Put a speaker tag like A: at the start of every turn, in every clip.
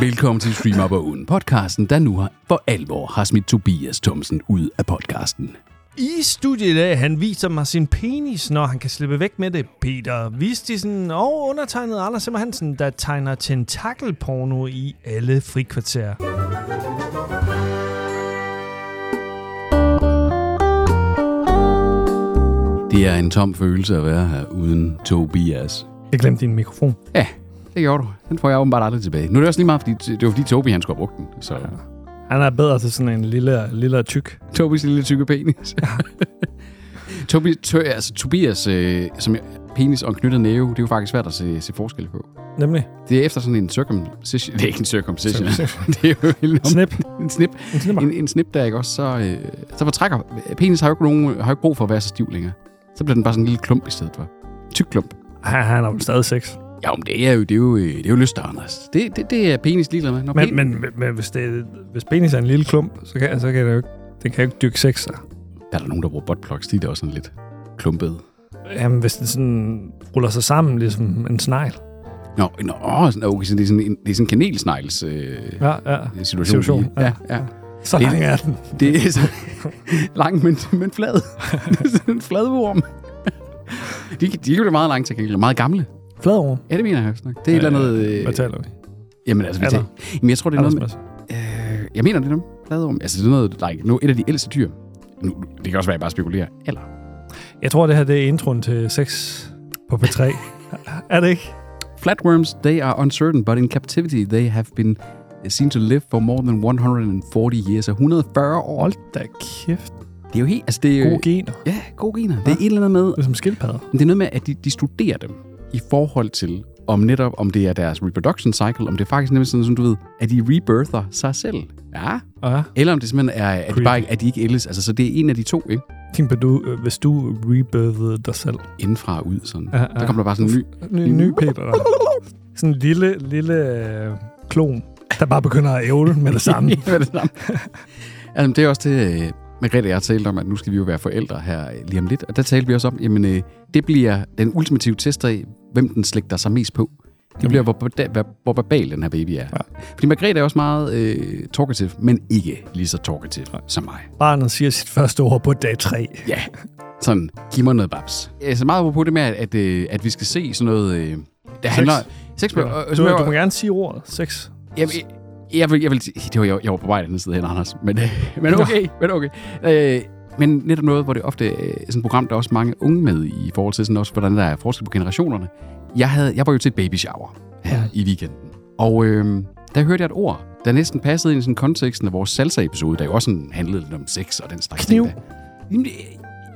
A: Velkommen til Stream Up og Uden podcasten, der nu har- for alvor har smidt Tobias Thomsen ud af podcasten.
B: I studiet i dag, han viser mig sin penis, når han kan slippe væk med det. Peter Vistisen og undertegnet Anders Simmer Hansen, der tegner tentakelporno i alle frikvarterer.
A: Det er en tom følelse at være her uden Tobias.
B: Jeg glemte din mikrofon.
A: Ja, det gjorde du. Den får jeg åbenbart aldrig tilbage. Nu er det også lige meget, fordi det var fordi Tobi han skulle have brugt den. Så
C: Han er bedre til sådan en lille, lille tyk.
A: Tobis lille tykke penis. Tobi, tø, altså, Tobias øh, som jeg, penis og en knyttet næve, det er jo faktisk svært at se, se forskel på.
C: Nemlig.
A: Det er efter sådan en circumcision. Det er ikke en circumcision. det er jo en,
C: Snip.
A: en snip.
C: En snipper.
A: en, en snip der, ikke også, så, øh, så fortrækker... Penis har jo, ikke nogen, har jo ikke brug for at være så stiv længere. Så bliver den bare sådan en lille klump i stedet for. Tyk klump.
C: Han, han har jo stadig sex.
A: Ja, men det er jo, det er jo, øh, det er jo lyster, Anders. Det, det, det er penis ligeglad med. Når
C: Men,
A: pen-
C: men, men, men hvis, det, hvis penis er en lille klump, så kan, så kan det jo ikke, den kan jo ikke dyrke sex. Så.
A: Der er der nogen, der bruger buttplugs. De er da også sådan lidt klumpede.
C: Jamen, hvis den sådan ruller sig sammen, ligesom en snegl.
A: Nå, nå åh, sådan- okay, så det er sådan en, det er sådan en kanelsnegls øh,
C: Ja, ja.
A: situation.
C: Situation,
A: ja. ja, ja.
C: Så
A: Det-
C: lang er den.
A: Det er så lang, men, men flad. Det er sådan en fladorm. De, de kan blive meget lange til gengæld. og Meget gamle.
C: Fladover.
A: Ja, det mener jeg også nok. Det er et eller andet...
C: Øh, hvad taler vi?
A: Jamen altså, vi
C: Er der?
A: tager... Jamen, jeg tror, det er noget med...
C: Aldersmæssigt.
A: Øh, jeg mener, det er dem. Fladorm. Altså, det er noget, der er nu et af de ældste dyr. Nu, det kan også være, at jeg bare spekulerer. Eller...
C: Jeg tror, det her det er introen til sex på P3. er det ikke?
A: Flatworms, they are uncertain, but in captivity they have been seen to live for more than 140 years. Og 140 år.
C: Hold da kæft.
A: Det er jo helt... Altså, det er jo...
C: Gode gener.
A: Ja, gode gener. Det er et eller andet med...
C: Ligesom skildpadder.
A: Men det er noget med, at de, de studerer dem i forhold til, om netop, om det er deres reproduction cycle, om det er faktisk nemlig sådan, som du ved, at de rebirther sig selv. Ja.
C: Ja.
A: Eller om det simpelthen er, at de,
C: Creepy.
A: bare, ikke- at de ikke ældes. Altså, så det er en af de to, ikke?
C: Tænk på, du, øh, hvis du rebirthede dig selv.
A: Indenfra og ud, sådan.
C: Ja,
A: Der kommer der bare sådan en ny...
C: ny, ny Peter. Der. Sådan en lille, lille øh, klon, der bare begynder at ævle med det samme.
A: Ja, med det samme. altså, det er også det, øh, Margrethe og jeg talte om, at nu skal vi jo være forældre her øh, lige om lidt. Og der talte vi også om, jamen øh, det bliver den ultimative test af, hvem den slægter sig mest på. Det bliver, hvor, barda- hvor, hvor verbal den her baby er. Ja. Fordi Margrethe er også meget øh, talkative, men ikke lige så talkative som mig.
C: Barnet siger sit første ord på dag 3.
A: Ja, sådan, giv mig noget babs. Altså meget på det med, at, at, øh, at vi skal se sådan noget, øh, der handler... Sex,
C: Du,
A: og- og-
C: du, du må gerne sige ordet. Sex.
A: Jeg, jeg, jeg, vil, jeg vil sige, det var, jeg, jeg var på vej den side hen, Anders, men, øh, men okay, men okay. Øh, men netop noget, hvor det ofte øh, sådan et program, der er også mange unge med i, i forhold til sådan også, hvordan der er forskel på generationerne. Jeg, havde, jeg var jo til et baby shower her i weekenden, og øh, der hørte jeg et ord, der næsten passede ind i sådan konteksten af vores salsa-episode, der jo også sådan handlede lidt om sex og den slags
C: Kniv.
A: ting. der. Jamen, det-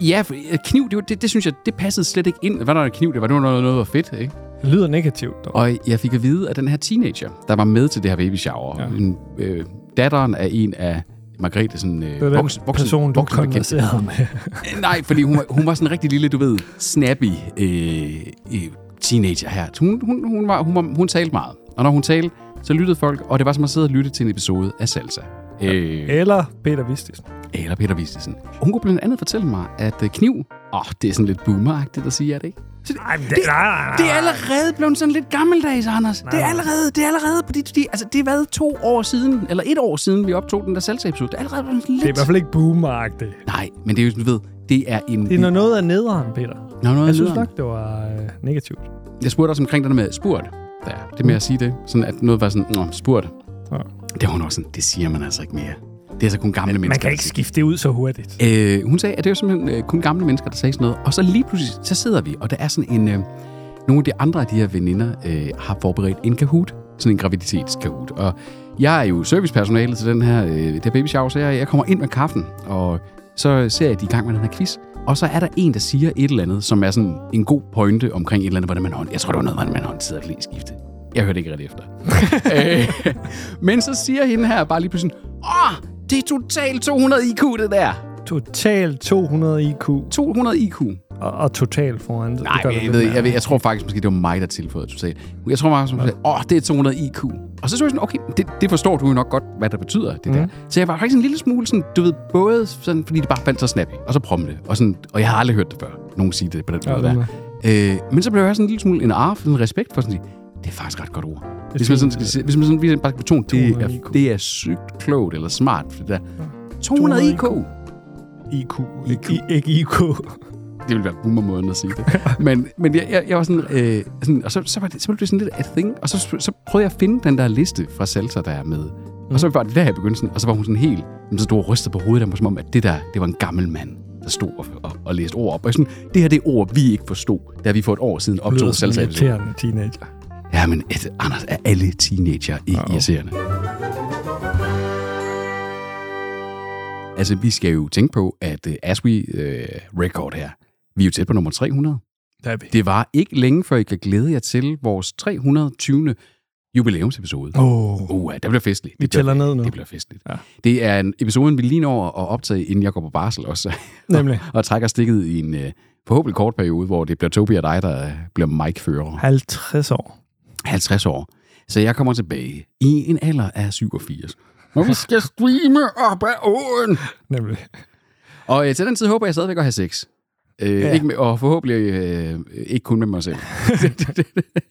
A: Ja, for, øh, kniv, det, var- det, det, synes jeg, det passede slet ikke ind. Hvad der er kniv? Det var, det var noget, noget der var fedt, ikke?
C: Det lyder negativt, dog.
A: Og jeg fik at vide, at den her teenager, der var med til det her baby shower, ja.
C: Ja.
A: en, øh, datteren af en af Margrethe, sådan øh,
C: Det er den person, du
A: voksenbekendte.
C: konverserede med.
A: Nej, fordi hun, var- hun var sådan en rigtig lille, du ved, snappy øh, øh, teenager her. Hun, hun, hun, var, hun, var, hun talte meget, og når hun talte, så lyttede folk, og det var som at sidde og lytte til en episode af Salsa. Øh,
C: Eller Peter Vistisen.
A: eller Peter Vistisen. Hun kunne blandt andet fortælle mig, at øh, kniv, åh, oh, det er sådan lidt boomeragtigt at sige, er det ikke?
C: Ej, men det, det, nej, nej, nej.
A: Det er allerede blevet sådan lidt gammeldags, Anders. Det er
C: nej.
A: allerede, det er allerede på de, de, altså det er været to år siden, eller et år siden, vi optog den der selskabsud. Det er allerede blevet sådan lidt...
C: det er i hvert fald ikke boomeragtigt.
A: Nej, men det er jo sådan, du ved, det er en...
C: Det er når noget af nederen, Peter.
A: Nå, noget
C: Jeg synes
A: nederen.
C: nok, det var øh, negativt.
A: Jeg spurgte også omkring det der med spurt. Ja, det med at sige det. Sådan at noget var sådan, nå, spurt.
C: Ja.
A: Det var hun også sådan, det siger man altså ikke mere. Det er så kun gamle mennesker.
C: Man kan ikke skifte det ud så hurtigt.
A: Øh, hun sagde, at det var simpelthen øh, kun gamle mennesker, der sagde sådan noget. Og så lige pludselig, så sidder vi, og der er sådan en... Øh, nogle af de andre af de her veninder øh, har forberedt en kahoot. Sådan en graviditetskahoot. Og jeg er jo servicepersonale til den her, øh, det her baby shower, så jeg, jeg kommer ind med kaffen, og så ser jeg, at de er i gang med den her quiz. Og så er der en, der siger et eller andet, som er sådan en god pointe omkring et eller andet, hvordan man hånd... Jeg tror, det var noget, hvordan man håndterede at skifte. Jeg hørte ikke rigtig efter. øh, men så siger hende her bare lige pludselig, Åh, det er totalt 200 IQ, det der.
C: Total 200 IQ
A: 200 IQ.
C: og, og total foran. Det,
A: Nej,
C: gør
A: jeg,
C: det
A: ved,
C: lidt
A: jeg, ved, jeg tror faktisk, måske det var mig, der tilføjede totalt. Jeg tror faktisk, at åh, det er 200 IQ. Og så så jeg sådan, okay, det, det forstår du jo nok godt, hvad der betyder, det der. Så jeg var faktisk en lille smule sådan, du ved, både sådan, fordi det bare faldt så snappy, og så prompte, og, sådan, og jeg har aldrig hørt det før, nogen sige det på den måde
C: det
A: der. Øh, men så blev jeg sådan en lille smule en arf, en respekt for sådan, at sige, det er faktisk et ret godt ord. Hvis man sådan
C: fint.
A: skal sige, hvis man sådan viser bare beton, det er,
C: 200 IQ.
A: det er sygt klogt eller smart. For det der. 200 IQ.
C: IQ.
A: IQ.
C: øh, I, ikke IQ.
A: Det ville være boomermåden at sige det. men men jeg, jeg, jeg var sådan, øh, sådan og så, så, var det, så blev det sådan lidt a thing, og så, så prøvede jeg at finde den der liste fra Salsa, der er med. Og så var det der, jeg begyndte sådan, og så var hun sådan helt, jamen, så stod og rystede på hovedet, der var som om, at det der, det var en gammel mand, der stod og, og, og læste ord op. Og jeg sådan, det her det er ord, vi ikke forstod, da vi for et år siden optog
C: sådan en
A: Salsa.
C: irriterende teenager.
A: Ja, men et, Anders, er alle teenager ikke
C: Ja.
A: irriterende? Altså, vi skal jo tænke på, at uh, As We uh, Record her, vi er jo tæt på nummer 300.
C: Der er vi.
A: Det var ikke længe, før I kan glæde jer til vores 320. jubilæumsepisode.
C: Åh. Oh.
A: Uh, der bliver festligt.
B: Vi
A: Det bliver-
B: tæller ned nu.
A: Det bliver festligt.
C: Ja.
A: Det er en episode, vi lige når at optage, inden jeg går på barsel også,
C: Nemlig.
A: og trækker stikket i en uh, forhåbentlig kort periode, hvor det bliver Tobi og dig, der øh, bliver mic-fører.
C: 50 år.
A: 50 år. Så jeg kommer tilbage i en alder af 87. Når vi skal streame op ad åen.
C: Nemlig.
A: Og øh, til den tid håber jeg stadigvæk at have sex. Øh, ja.
C: Ja.
A: ikke med, og forhåbentlig øh, ikke kun med mig selv.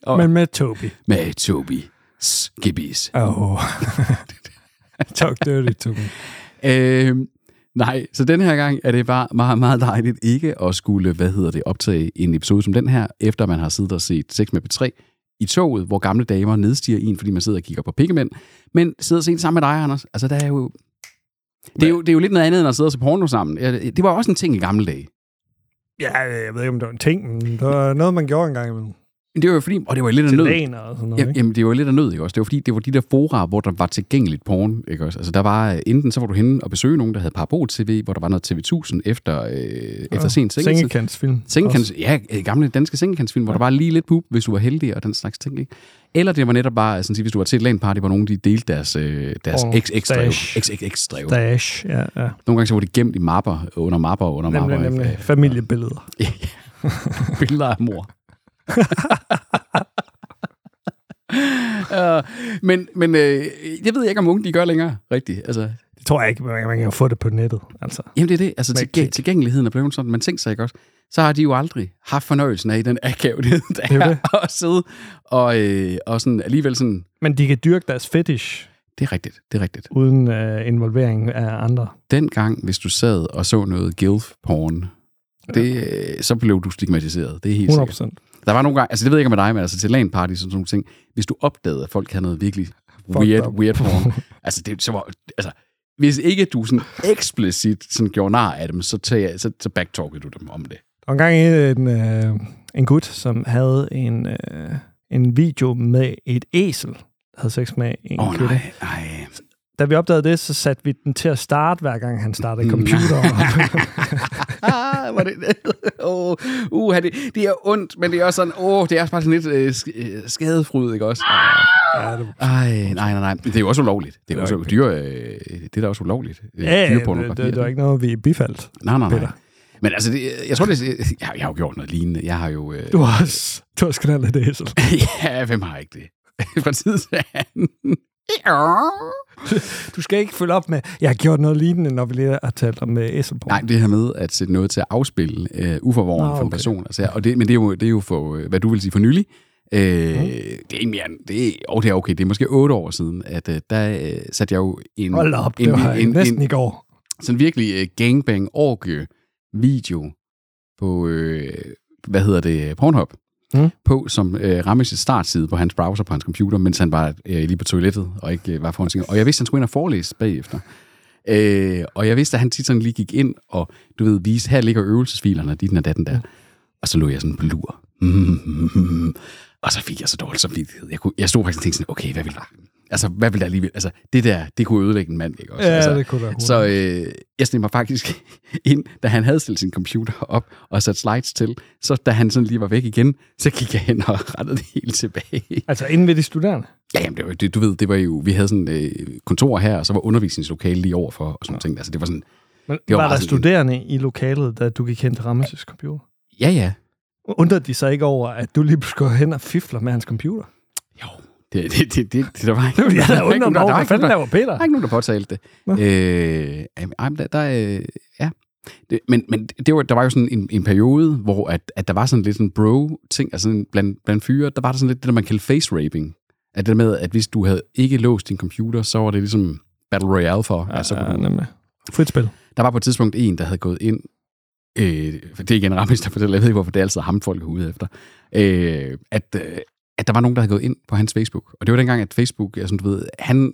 A: og
C: Men med Toby.
A: med Tobi. Skibis.
C: Åh. Oh. Talk dirty to me.
A: Øh, nej, så den her gang er det bare meget, meget dejligt ikke at skulle, hvad hedder det, optage en episode som den her, efter man har siddet og set Sex med P3 i toget, hvor gamle damer nedstiger en, fordi man sidder og kigger på pikkemænd, men sidder og ser det sammen med dig, Anders. Altså, der er jo... Det er, jo, det er jo lidt noget andet, end at sidde og se porno sammen. Ja, Det det var også en ting i gamle dage.
C: Ja, jeg ved ikke, om det var en ting, men det var noget, man gjorde engang imellem.
A: Men det var jo fordi, og det var lidt af
C: Til
A: nød.
C: lægen og sådan noget,
A: Jamen,
C: ikke?
A: jamen, det var lidt af nød, ikke også? Det var fordi, det var de der fora, hvor der var tilgængeligt porn, ikke også? Altså, der var, øh, enten så var du henne og besøge nogen, der havde Parabol-TV, hvor der var noget TV1000 efter, øh, efter sent sengetid.
C: Sengekantsfilm.
A: Sengekants, ja, øh, gamle danske sengekantsfilm, hvor der var lige lidt pub, hvis du var heldig og den slags ting. Ikke? Eller det var netop bare, sådan at sige, hvis du var til et LAN-party, hvor nogen de delte deres, øh, deres
C: Åh,
A: XX-drev.
C: stash.
A: XX-drev.
C: Dash, ja, ja.
A: Nogle gange så var det gemt i mapper, under mapper, under
C: Nemlig,
A: mapper.
C: nemlig. Familiebilleder.
A: billeder af mor. uh, men men øh, jeg ved ikke, om unge de gør længere, rigtigt. Altså,
C: Det tror jeg ikke, man man kan få det på nettet. Altså.
A: jamen det er det, altså
C: Med
A: tilgæ-
C: klik.
A: tilgængeligheden er blevet sådan, man tænker sig ikke også, så har de jo aldrig haft fornøjelsen af den akavighed, der
C: er jo
A: er
C: det.
A: at sidde og, øh, og sådan, alligevel sådan,
C: Men de kan dyrke deres fetish
A: det er rigtigt, det er rigtigt.
C: uden øh, involvering af andre.
A: Dengang, hvis du sad og så noget gilf-porn, det, øh, så blev du stigmatiseret, det er helt
C: 100
A: sikkert.
C: procent.
A: Der var nogle gange, altså det ved jeg ikke med dig, men altså til LAN party sådan nogle ting, hvis du opdagede, at folk havde noget virkelig weird,
C: up.
A: weird form, altså det så var, altså, hvis ikke du sådan eksplicit sådan gjorde nar af dem, så, tag, så, så backtalkede du dem om det.
C: Der var engang en, øh, en gut, som havde en, øh, en video med et æsel, der havde sex med en
A: Åh oh,
C: kvinde.
A: nej, nej.
C: Da vi opdagede det, så satte vi den til at starte, hver gang han startede
A: Mm.
C: computeren.
A: Ah, var det, oh, uh, det, det er ondt, men det er også sådan, åh, oh, det er også bare sådan lidt øh, sk- øh, skadefryd, ikke også?
C: Ah, ja, det var
A: Ej, nej, nej, nej. Det er jo også ulovligt. Det er, jo
C: Det er
A: også, dyr, øh, det er da også ulovligt. Øh,
C: Ja, det,
A: dyrepornografi,
C: det, det var ikke noget, vi bifaldt.
A: Nej, nej, nej.
C: Peter.
A: Men altså, det, jeg tror, det, jeg, jeg har jo gjort noget lignende. Jeg har jo... Øh,
C: Du var også, du var sgu da lidt æsel.
A: ja, hvem har ikke det? Fra tid til anden. Ja.
C: Du skal ikke følge op med, jeg har gjort noget lignende, når vi lige har talt om øh, æselporn.
A: Nej, det her med at sætte noget til at afspille øh, uforvågen
C: Nå,
A: for en
C: okay.
A: person. Altså, og det, men det er jo, det er jo for, øh, hvad du vil sige for nylig. Øh,
C: Mhm.
A: Det er ikke mere end- det er, og det er okay, det er måske otte år siden, at øh, der øh, satte jeg jo en,
C: Hold da op,
A: en,
C: det var
A: en,
C: næsten
A: en,
C: i går.
A: sådan virkelig øh, gangbang orgie video på, øh, hvad hedder det, Pornhub, mm.
C: Mm.
A: på, som øh, rammer sin startside på hans browser på hans computer, mens han var øh, lige på toilettet og ikke øh, var foran sin Og jeg vidste, han skulle ind og forelæse bagefter. Øh, og jeg vidste, at han tit sådan lige gik ind og, du ved, viste, her ligger øvelsesfilerne, de den og datten der. Og så lå jeg sådan på lur. Mm-hmm. Og så fik jeg så dårlig samvittighed. Jeg, kunne, jeg stod faktisk og tænkte sådan, okay, hvad vil der? Altså, hvad vil der alligevel? Altså, det der, det kunne ødelægge en mand, ikke også?
C: Ja,
A: altså,
C: det kunne være hurtigt.
A: så øh, jeg sneg mig faktisk ind, da han havde stillet sin computer op og sat slides til. Så da han sådan lige var væk igen, så gik jeg hen og rettede det hele tilbage.
C: Altså inden ved de studerende.
A: Ja, jamen, det var, jo- det, du ved, det var jo, vi havde sådan øh, kontor her, og så var undervisningslokale lige overfor og sådan ja. ting. Altså, det var sådan,
C: Men
A: altså, Det
C: det
A: var
C: var, var der
A: meget sådan-
C: studerende i lokalet, da du gik hen til Ramses computer?
A: ja, ja.
C: Undrede de sig ikke over, at du lige pludselig går hen og fifler med hans computer?
A: Jo, det, det, det, det, det der var ikke
C: Det var jeg, der
A: var ikke nogen,
C: undrede mig over,
A: var
C: hvad
A: ikke nogen,
C: fanden laver Peter?
A: Der er ikke nogen, der påtalte det.
C: Nå.
A: Øh, jamen, ej, men der, der, øh, ja. Det, men men det var, der var jo sådan en, en periode, hvor at, at der var sådan lidt sådan bro-ting, altså sådan blandt, blandt fyre, der var der sådan lidt det, der man kaldte face raping. At det der med, at hvis du havde ikke låst din computer, så var det ligesom Battle Royale for.
C: Ja,
A: altså,
C: ja, nemlig. Frit spil.
A: der var på et tidspunkt en, der havde gået ind. Øh, for det er igen Rammes, der fortæller, jeg ved ikke, hvorfor det er altid ham, folk er ude efter. Øh, at, øh, at der var nogen, der havde gået ind på hans Facebook. Og det var dengang, at Facebook, altså, du ved, han,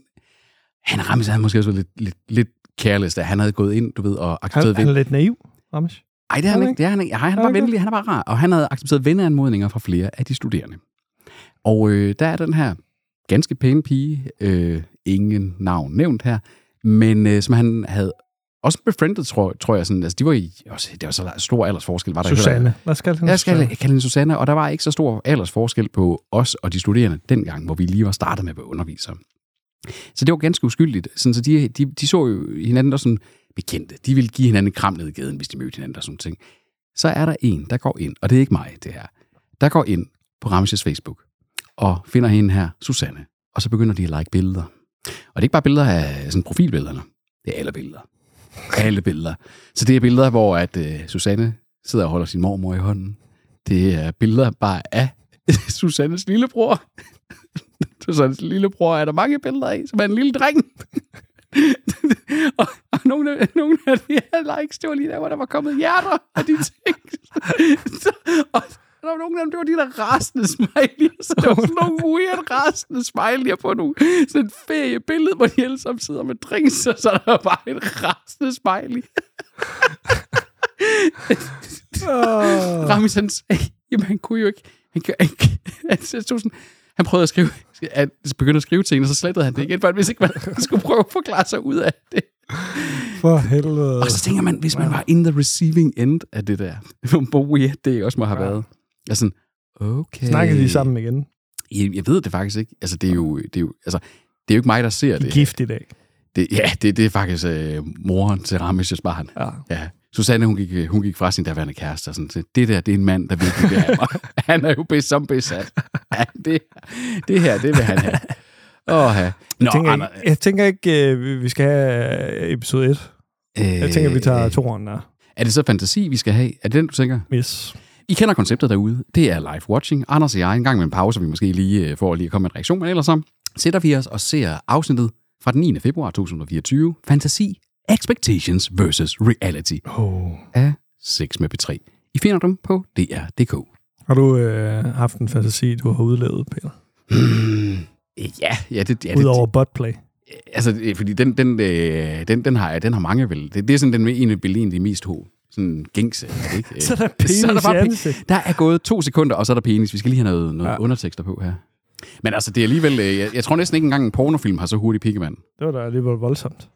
A: han Rammes havde måske også været lidt, lidt, lidt careless, da han havde gået ind, du ved, og
C: Han,
A: accepteret
C: han er lidt naiv, Ramesh.
A: Nej, det er
C: Er
A: han
C: han
A: ikke. Det er han ikke. Ej, han
C: Er
A: var
C: han ikke?
A: venlig, han var rar. Og han havde accepteret venneanmodninger fra flere af de studerende. Og øh, der er den her ganske pæne pige, øh, ingen navn nævnt her, men øh, som han havde også befriendet, tror, tror jeg. Sådan, altså, de var i, også, det var så stor aldersforskel, var der heller ikke.
C: Susanne. Lad os kalde hende
A: Jeg skal
C: Susanne.
A: kalde hende Susanne, og der var ikke så stor aldersforskel på os og de studerende dengang, hvor vi lige var startet med at være undervisere. Så det var ganske uskyldigt. Sådan, så de, de, de så jo hinanden der sådan bekendte. De ville give hinanden et kram ned i gaden, hvis de mødte hinanden og sådan nogle ting. Så er der en, der går ind, og det er ikke mig, det her, der går ind på Ramses Facebook og finder hende her, Susanne, og så begynder de at like billeder. Og det er ikke bare billeder af sådan profilbillederne, det er alle billeder. Alle billeder. Så det er billeder, hvor at øh, Susanne sidder og holder sin mormor i hånden. Det er billeder bare af Susannes lillebror. Susannes lillebror er der mange billeder af, som er en lille dreng. og, og nogle, af, nogle af de her likes, det var lige der, hvor der var kommet hjerter og de ting. Så, og der var nogle af dem, det var de der rasende smiley. Så der var sådan nogle weird rasende smiley'er på nogle sådan et feriebillede, hvor de alle sammen sidder med drinks, og så er der bare et rasende smiley.
C: Åh.
A: Ramis, han sagde, jamen han kunne jo ikke, han, kan, han, kan- han, så stod sådan, han prøvede at skrive, at begyndte at skrive til en, og så slettede han det igen, for han vidste ikke, hvordan han skulle prøve at forklare sig ud af det.
C: For helvede.
A: Og så tænker man, hvis man var in the receiving end af det der, hvor weird det også må have
C: Ja.
A: været. Jeg er sådan, okay.
C: Snakkede de sammen igen?
A: Jeg, jeg ved det faktisk ikke. Altså, det er jo, det er jo, altså, det er jo ikke mig, der ser
C: De er
A: det.
C: gift i dag.
A: det ja, det, det er faktisk øh, moren til Ramses barn.
C: Ja.
A: Ja. Susanne, hun gik, øh, hun gik fra sin daværende kæreste og sådan, så det der, det er en mand, der virkelig vil have mig. Han er jo bedst som besat. Ja, det, det her, det vil han have. Åh, ja. Nå,
C: Jeg tænker,
A: Anders,
C: ikke, jeg tænker ikke, øh, vi- vi skal have øh, episode 1.
A: øh,
C: Jeg tænker, vi tager toeren der.
A: Er det så fantasi, vi skal have? Er det den, du tænker?
C: Yes.
A: I kender konceptet derude. Det er live watching. Anders og jeg, en gang med en pause, vi måske lige øh, får lige at komme med en reaktion, men ellers så sætter vi os og ser afsnittet fra den 9. februar 2024. Fantasi, expectations versus reality
C: Oh.
A: af 6 med P3. I finder dem på dr.dk.
C: Har du øh, haft en fantasi, du har udlevet, Peter?
A: Hmm. Ja, ja, det, ja,
C: Ja,
A: det,
C: Udover buttplay.
A: altså, det- fordi den, den, øh, den, den, har, jeg- den har mange vel. Det, det er sådan den en af Berlin, de mest ho. Sådan gængse. Ikke?
C: Så er der
A: Så er der
C: penis
A: bare
C: i
A: pe-
C: ansigt.
A: Der er gået to sekunder, og så er der penis. Vi skal lige have noget, noget ja.
C: Ja.
A: undertekster på her. Men altså, det er alligevel... øh, Jeg, jeg tror næsten ikke engang en pornofilm har så hurtig pikkemand.
C: Det var da alligevel voldsomt.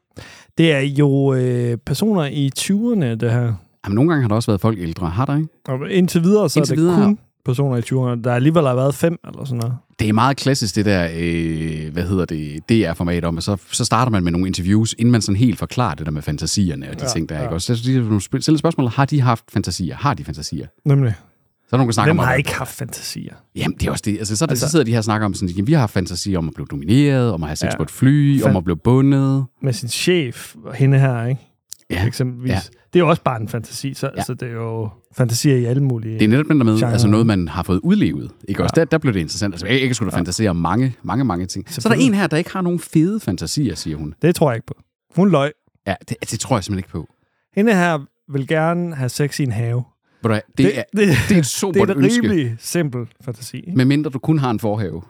C: Det er jo øh, personer i 20'erne, det her.
A: Jamen, nogle gange har der også været folk ældre, har der ikke?
C: Og indtil videre, så
A: Indtil
C: indtil er det
A: videre,
C: videre, kun personer i 20'erne. Der alligevel har været fem eller sådan noget.
A: Det er meget klassisk, det der, øh, hvad hedder det, DR-format om, at så, så starter man med nogle interviews, inden man sådan helt forklarer det der med fantasierne og de ja,
C: Ja,
A: ting, der er,
C: ja.
A: ikke også? Så de nogle sp- stiller spørgsmålet, har de haft fantasier? Har de fantasier?
C: Nemlig.
A: Så er der nogen, der snakker
C: Hvem
A: om...
C: har
A: at-
C: ikke haft fantasier?
A: Jamen, det er også det. Altså, så, er det, altså,
C: Altså-
A: så sidder de her og snakker om sådan, jamen, vi har haft fantasier om at blive domineret, om at have sex ja.
C: Ja.
A: på et fly, om
C: Fan-
A: at blive bundet.
C: Med sin chef, og hende her, ikke?
A: Ja.
C: Eksempelvis.
A: Ja.
C: Ja. Det er jo også bare en fantasi, så,
A: Ja.
C: ja. så det er jo fantasier i alle mulige...
A: Det er netop den der med,
C: Genre.
A: altså noget, man har fået udlevet. Ikke også? Der, der blev det interessant. Altså, jeg, jeg skulle da fantasere om mange, mange, mange ting. Så er der en
C: Selvfølgelig.
A: her, der ikke har nogen fede fantasier, siger hun.
C: det tror jeg ikke på. Hun løg.
A: Ja, det, det tror jeg simpelthen ikke på.
C: Hende her vil gerne have sex i en have.
A: Ved du hvad, Det, det, er,
C: det,
A: det er et
C: det er
A: sobert
C: en
A: ønske,
C: rimelig simpel fantasi. Ikke?
A: med mindre du kun har en forhave.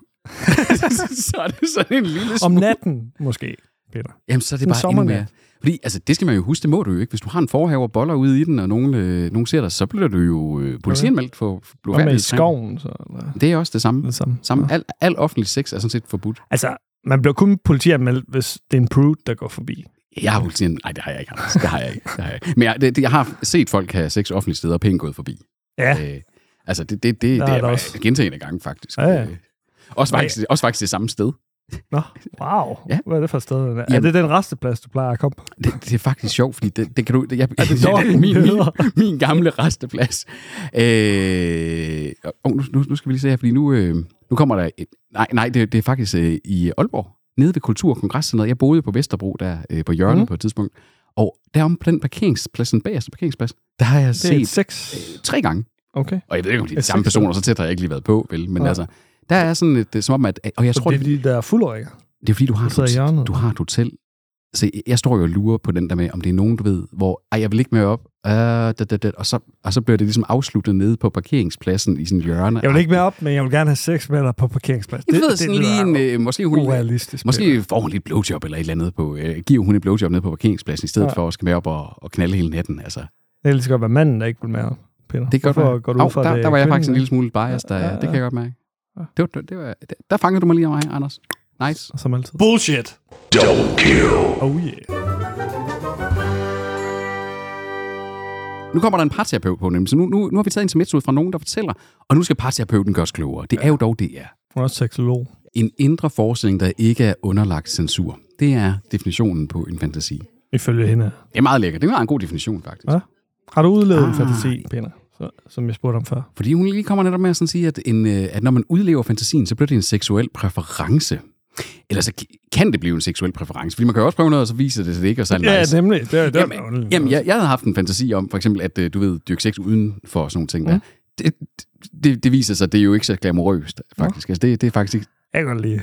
A: så er det sådan en lille
C: Om
A: smule.
C: natten, måske, Peter.
A: Jamen, så er det
C: en
A: bare endnu
C: sommernat.
A: mere. Fordi, altså, det skal man jo huske, det må du jo ikke. Hvis du har en forhave og boller ude i den, og nogen, øh, nogen ser dig, så bliver du jo øh, politianmeldt for for
C: Og med i
A: blufærdighed.
C: skoven, så. Eller?
A: Det er også det samme.
C: Det samme.
A: samme.
C: Ja.
A: Al, al offentlig sex er sådan set forbudt.
C: Altså, man bliver kun politianmeldt, hvis det er en prude, der går forbi.
A: Jeg har jo sådan, nej, det har jeg ikke, Anders. Det har jeg ikke. Det har jeg ikke. Men jeg, det, det, jeg har set folk have sex offentlige steder og pænt gået forbi.
C: Ja,
A: Øh, altså, det, det, det,
C: Der
A: det
C: er
A: er,
C: der
A: også.
C: også.
A: gentagende gange, faktisk.
C: Ja, ja.
A: Øh, Også faktisk, ja. også faktisk det samme sted.
C: nå, wow.
A: Ja.
C: Ja. Hvad er det for et sted? den er? Er
A: Jamen-
C: det den resteplads, du plejer at komme på?
A: Det, det er faktisk sjovt, fordi det, det kan du... Det, jeg, er
C: det dårlige
A: min, min,
C: nyheder?
A: min gamle resteplads. Øh, og nu, nu, nu skal vi lige se her, fordi nu, øh, nu kommer der... Et, nej, nej det, det er faktisk øh, i Aalborg. Nede ved Kultur- og Kongresscenteret. Jeg boede på Vesterbro, der øh, på hjørnet mm.
C: Mhm.
A: på et tidspunkt. Og derom på den parkeringsplads, den bagerste parkeringsplads, der har jeg
C: Det er et
A: set øh,
C: sex.
A: tre gange.
C: Okay.
A: Og jeg ved ikke, om det er de
C: Jeg
A: samme
C: synes,
A: personer, så tæt har jeg ikke lige været på, vel? Men ja.
C: Nej.
A: altså, Der er sådan et, øh, som om, at... Og jeg
C: Så
A: tror,
C: det er fordi, der er fuldårige.
A: Det er fordi, du har,
C: sidder i
A: et, hotel-
C: hjørnet.
A: du har et hotel. Så jeg står jo og lurer på den der med, om det er nogen, du ved, hvor, ej, jeg vil ikke med op, øh, da, da, da, og, så, og så bliver det ligesom afsluttet nede på parkeringspladsen i sådan et hjørne.
C: Jeg vil ikke med op, men jeg vil gerne have sex med dig på parkeringspladsen.
A: Jeg ved, sådan lige en, øh, måske hun,
C: urealistisk.
A: måske får hun lige et blowjob eller et eller andet på, øh, giver hun et blowjob nede på parkeringspladsen, i stedet ja.
C: Ja.
A: for at skal med op og, og knalde hele natten. Altså, det
C: Det kan lige så godt være manden, der ikke vil med op, Peter.
A: kan godt
C: Hvorfor
A: være.
C: Går du ud
A: Au,
C: fra,
A: der,
C: det
A: der var jeg faktisk en
C: kvinden,
A: lille smule biased, der,
C: Ja, ja,
A: ja, det kan
C: ja.
A: jeg godt mærke.
C: Ja.
A: Det var, det, det var, der fangede du mig lige af mig, Anders. Nice.
C: der? Som altid.
B: Bullshit!
C: Oh yeah.
A: Nu kommer der en parterapeut på, nemlig. Så nu, nu, nu har vi taget en intermezzo ud fra nogen, der fortæller, og nu skal parterapeuten gøres klogere. Det er jo dog det, er.
C: Hun er også seksolog.
A: En indre forestilling, der ikke er underlagt censur. Det er definitionen på en fantasi. Det
C: Ifølge hende.
A: er meget lækkert. Det er en god definition, faktisk.
C: Ja. Har du udlevet ah. en
A: Ah.
C: fantasi, Peter? Så, som jeg spurgte om før.
A: Fordi hun lige kommer netop med at sådan sige, at, en, øh, at når man udlever fantasien, så bliver det en seksuel præference. Eller så ki- kan det blive en seksuel præference. Fordi man kan jo også prøve noget, og så viser det sig det ikke, og så er det
C: Ja,
A: nice.
C: nemlig. Det, det
A: Jamen, Jamen, jeg, jeg havde haft en fantasi om, for eksempel, at øh, du ved, dyrke sex uden for sådan nogle ting der.
C: Mm.
A: Det, det, det viser sig, det er jo ikke så glamourøst, faktisk. Altså, det, det er faktisk ikke...
C: Jeg kan godt lide.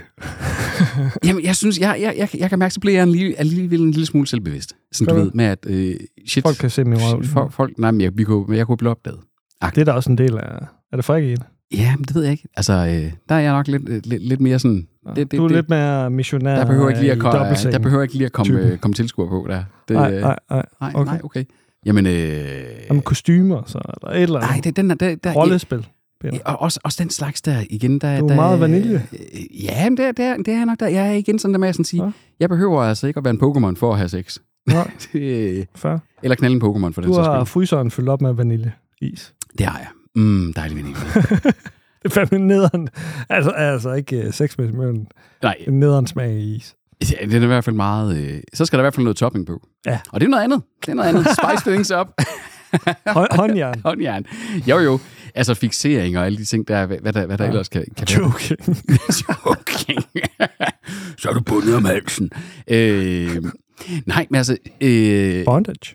A: Jamen, jeg synes, jeg, jeg, jeg, jeg kan mærke, så bliver jeg en lille, alligevel en lille smule selvbevidst. Sådan, du
C: Gør
A: ved,
C: du?
A: med at... Øh, shit,
C: Folk kan se min røv.
A: folk, folk, nej, men jeg, vi kunne, jeg kunne blive opdaget.
C: Det er da også en del af... Er det fræk i det?
A: Ja, men det ved jeg ikke. Altså, øh, der er jeg nok lidt, øh, lidt, lidt mere sådan...
C: Ja.
A: Det- det-
C: du er
A: det-
C: lidt mere missionær
A: Der behøver ikke lige at,
C: Øh, i
A: komme,
C: dobbeltsengen.
A: der behøver ikke lige at komme,
C: Typen.
A: øh, komme tilskuer på der. Det,
C: Nej,
A: øh,
C: nej, nej.
A: nej,
C: okay.
A: nej, okay. Jamen, øh,
C: Jamen, kostymer, så, eller et eller andet.
A: nej, det, den er... Der, der,
C: Rollespil.
A: Ja, og også, også den slags der igen. Der,
C: Du er
A: der,
C: meget vanilje.
A: Øh, Ja, men det, er- det, er, det er jeg nok der. Jeg er igen sådan der med at sådan sige, ja.
C: Ja.
A: jeg behøver altså ikke at være en Pokémon for at have sex.
C: Nej,
A: Det-
C: fair.
A: Eller knalde en Pokémon for den
C: Du
A: sags
C: har
A: skyld.
C: fryseren fyldt op med vaniljeis.
A: Det har jeg. Mm, dejlig veninde.
C: Det er fandme nederen. Altså, altså ikke uh, sexmæssigt, men
A: Nej,
C: en nederen smag i is.
A: ja, det er i hvert fald meget... Øh, så skal der i hvert fald noget topping på.
C: Ja.
A: Og det er noget andet. Det er noget andet. Spice things up.
C: Hå- Håndjern.
A: Håndjern. Jo, jo. Altså fixering og alle de ting, der, er, hvad hvad der, hvad der ja.
C: Ja.
A: ellers kan, kan være.
C: Joking.
A: okay. så er du bundet om halsen. Øh, nej, men altså... Øh,
C: Bondage.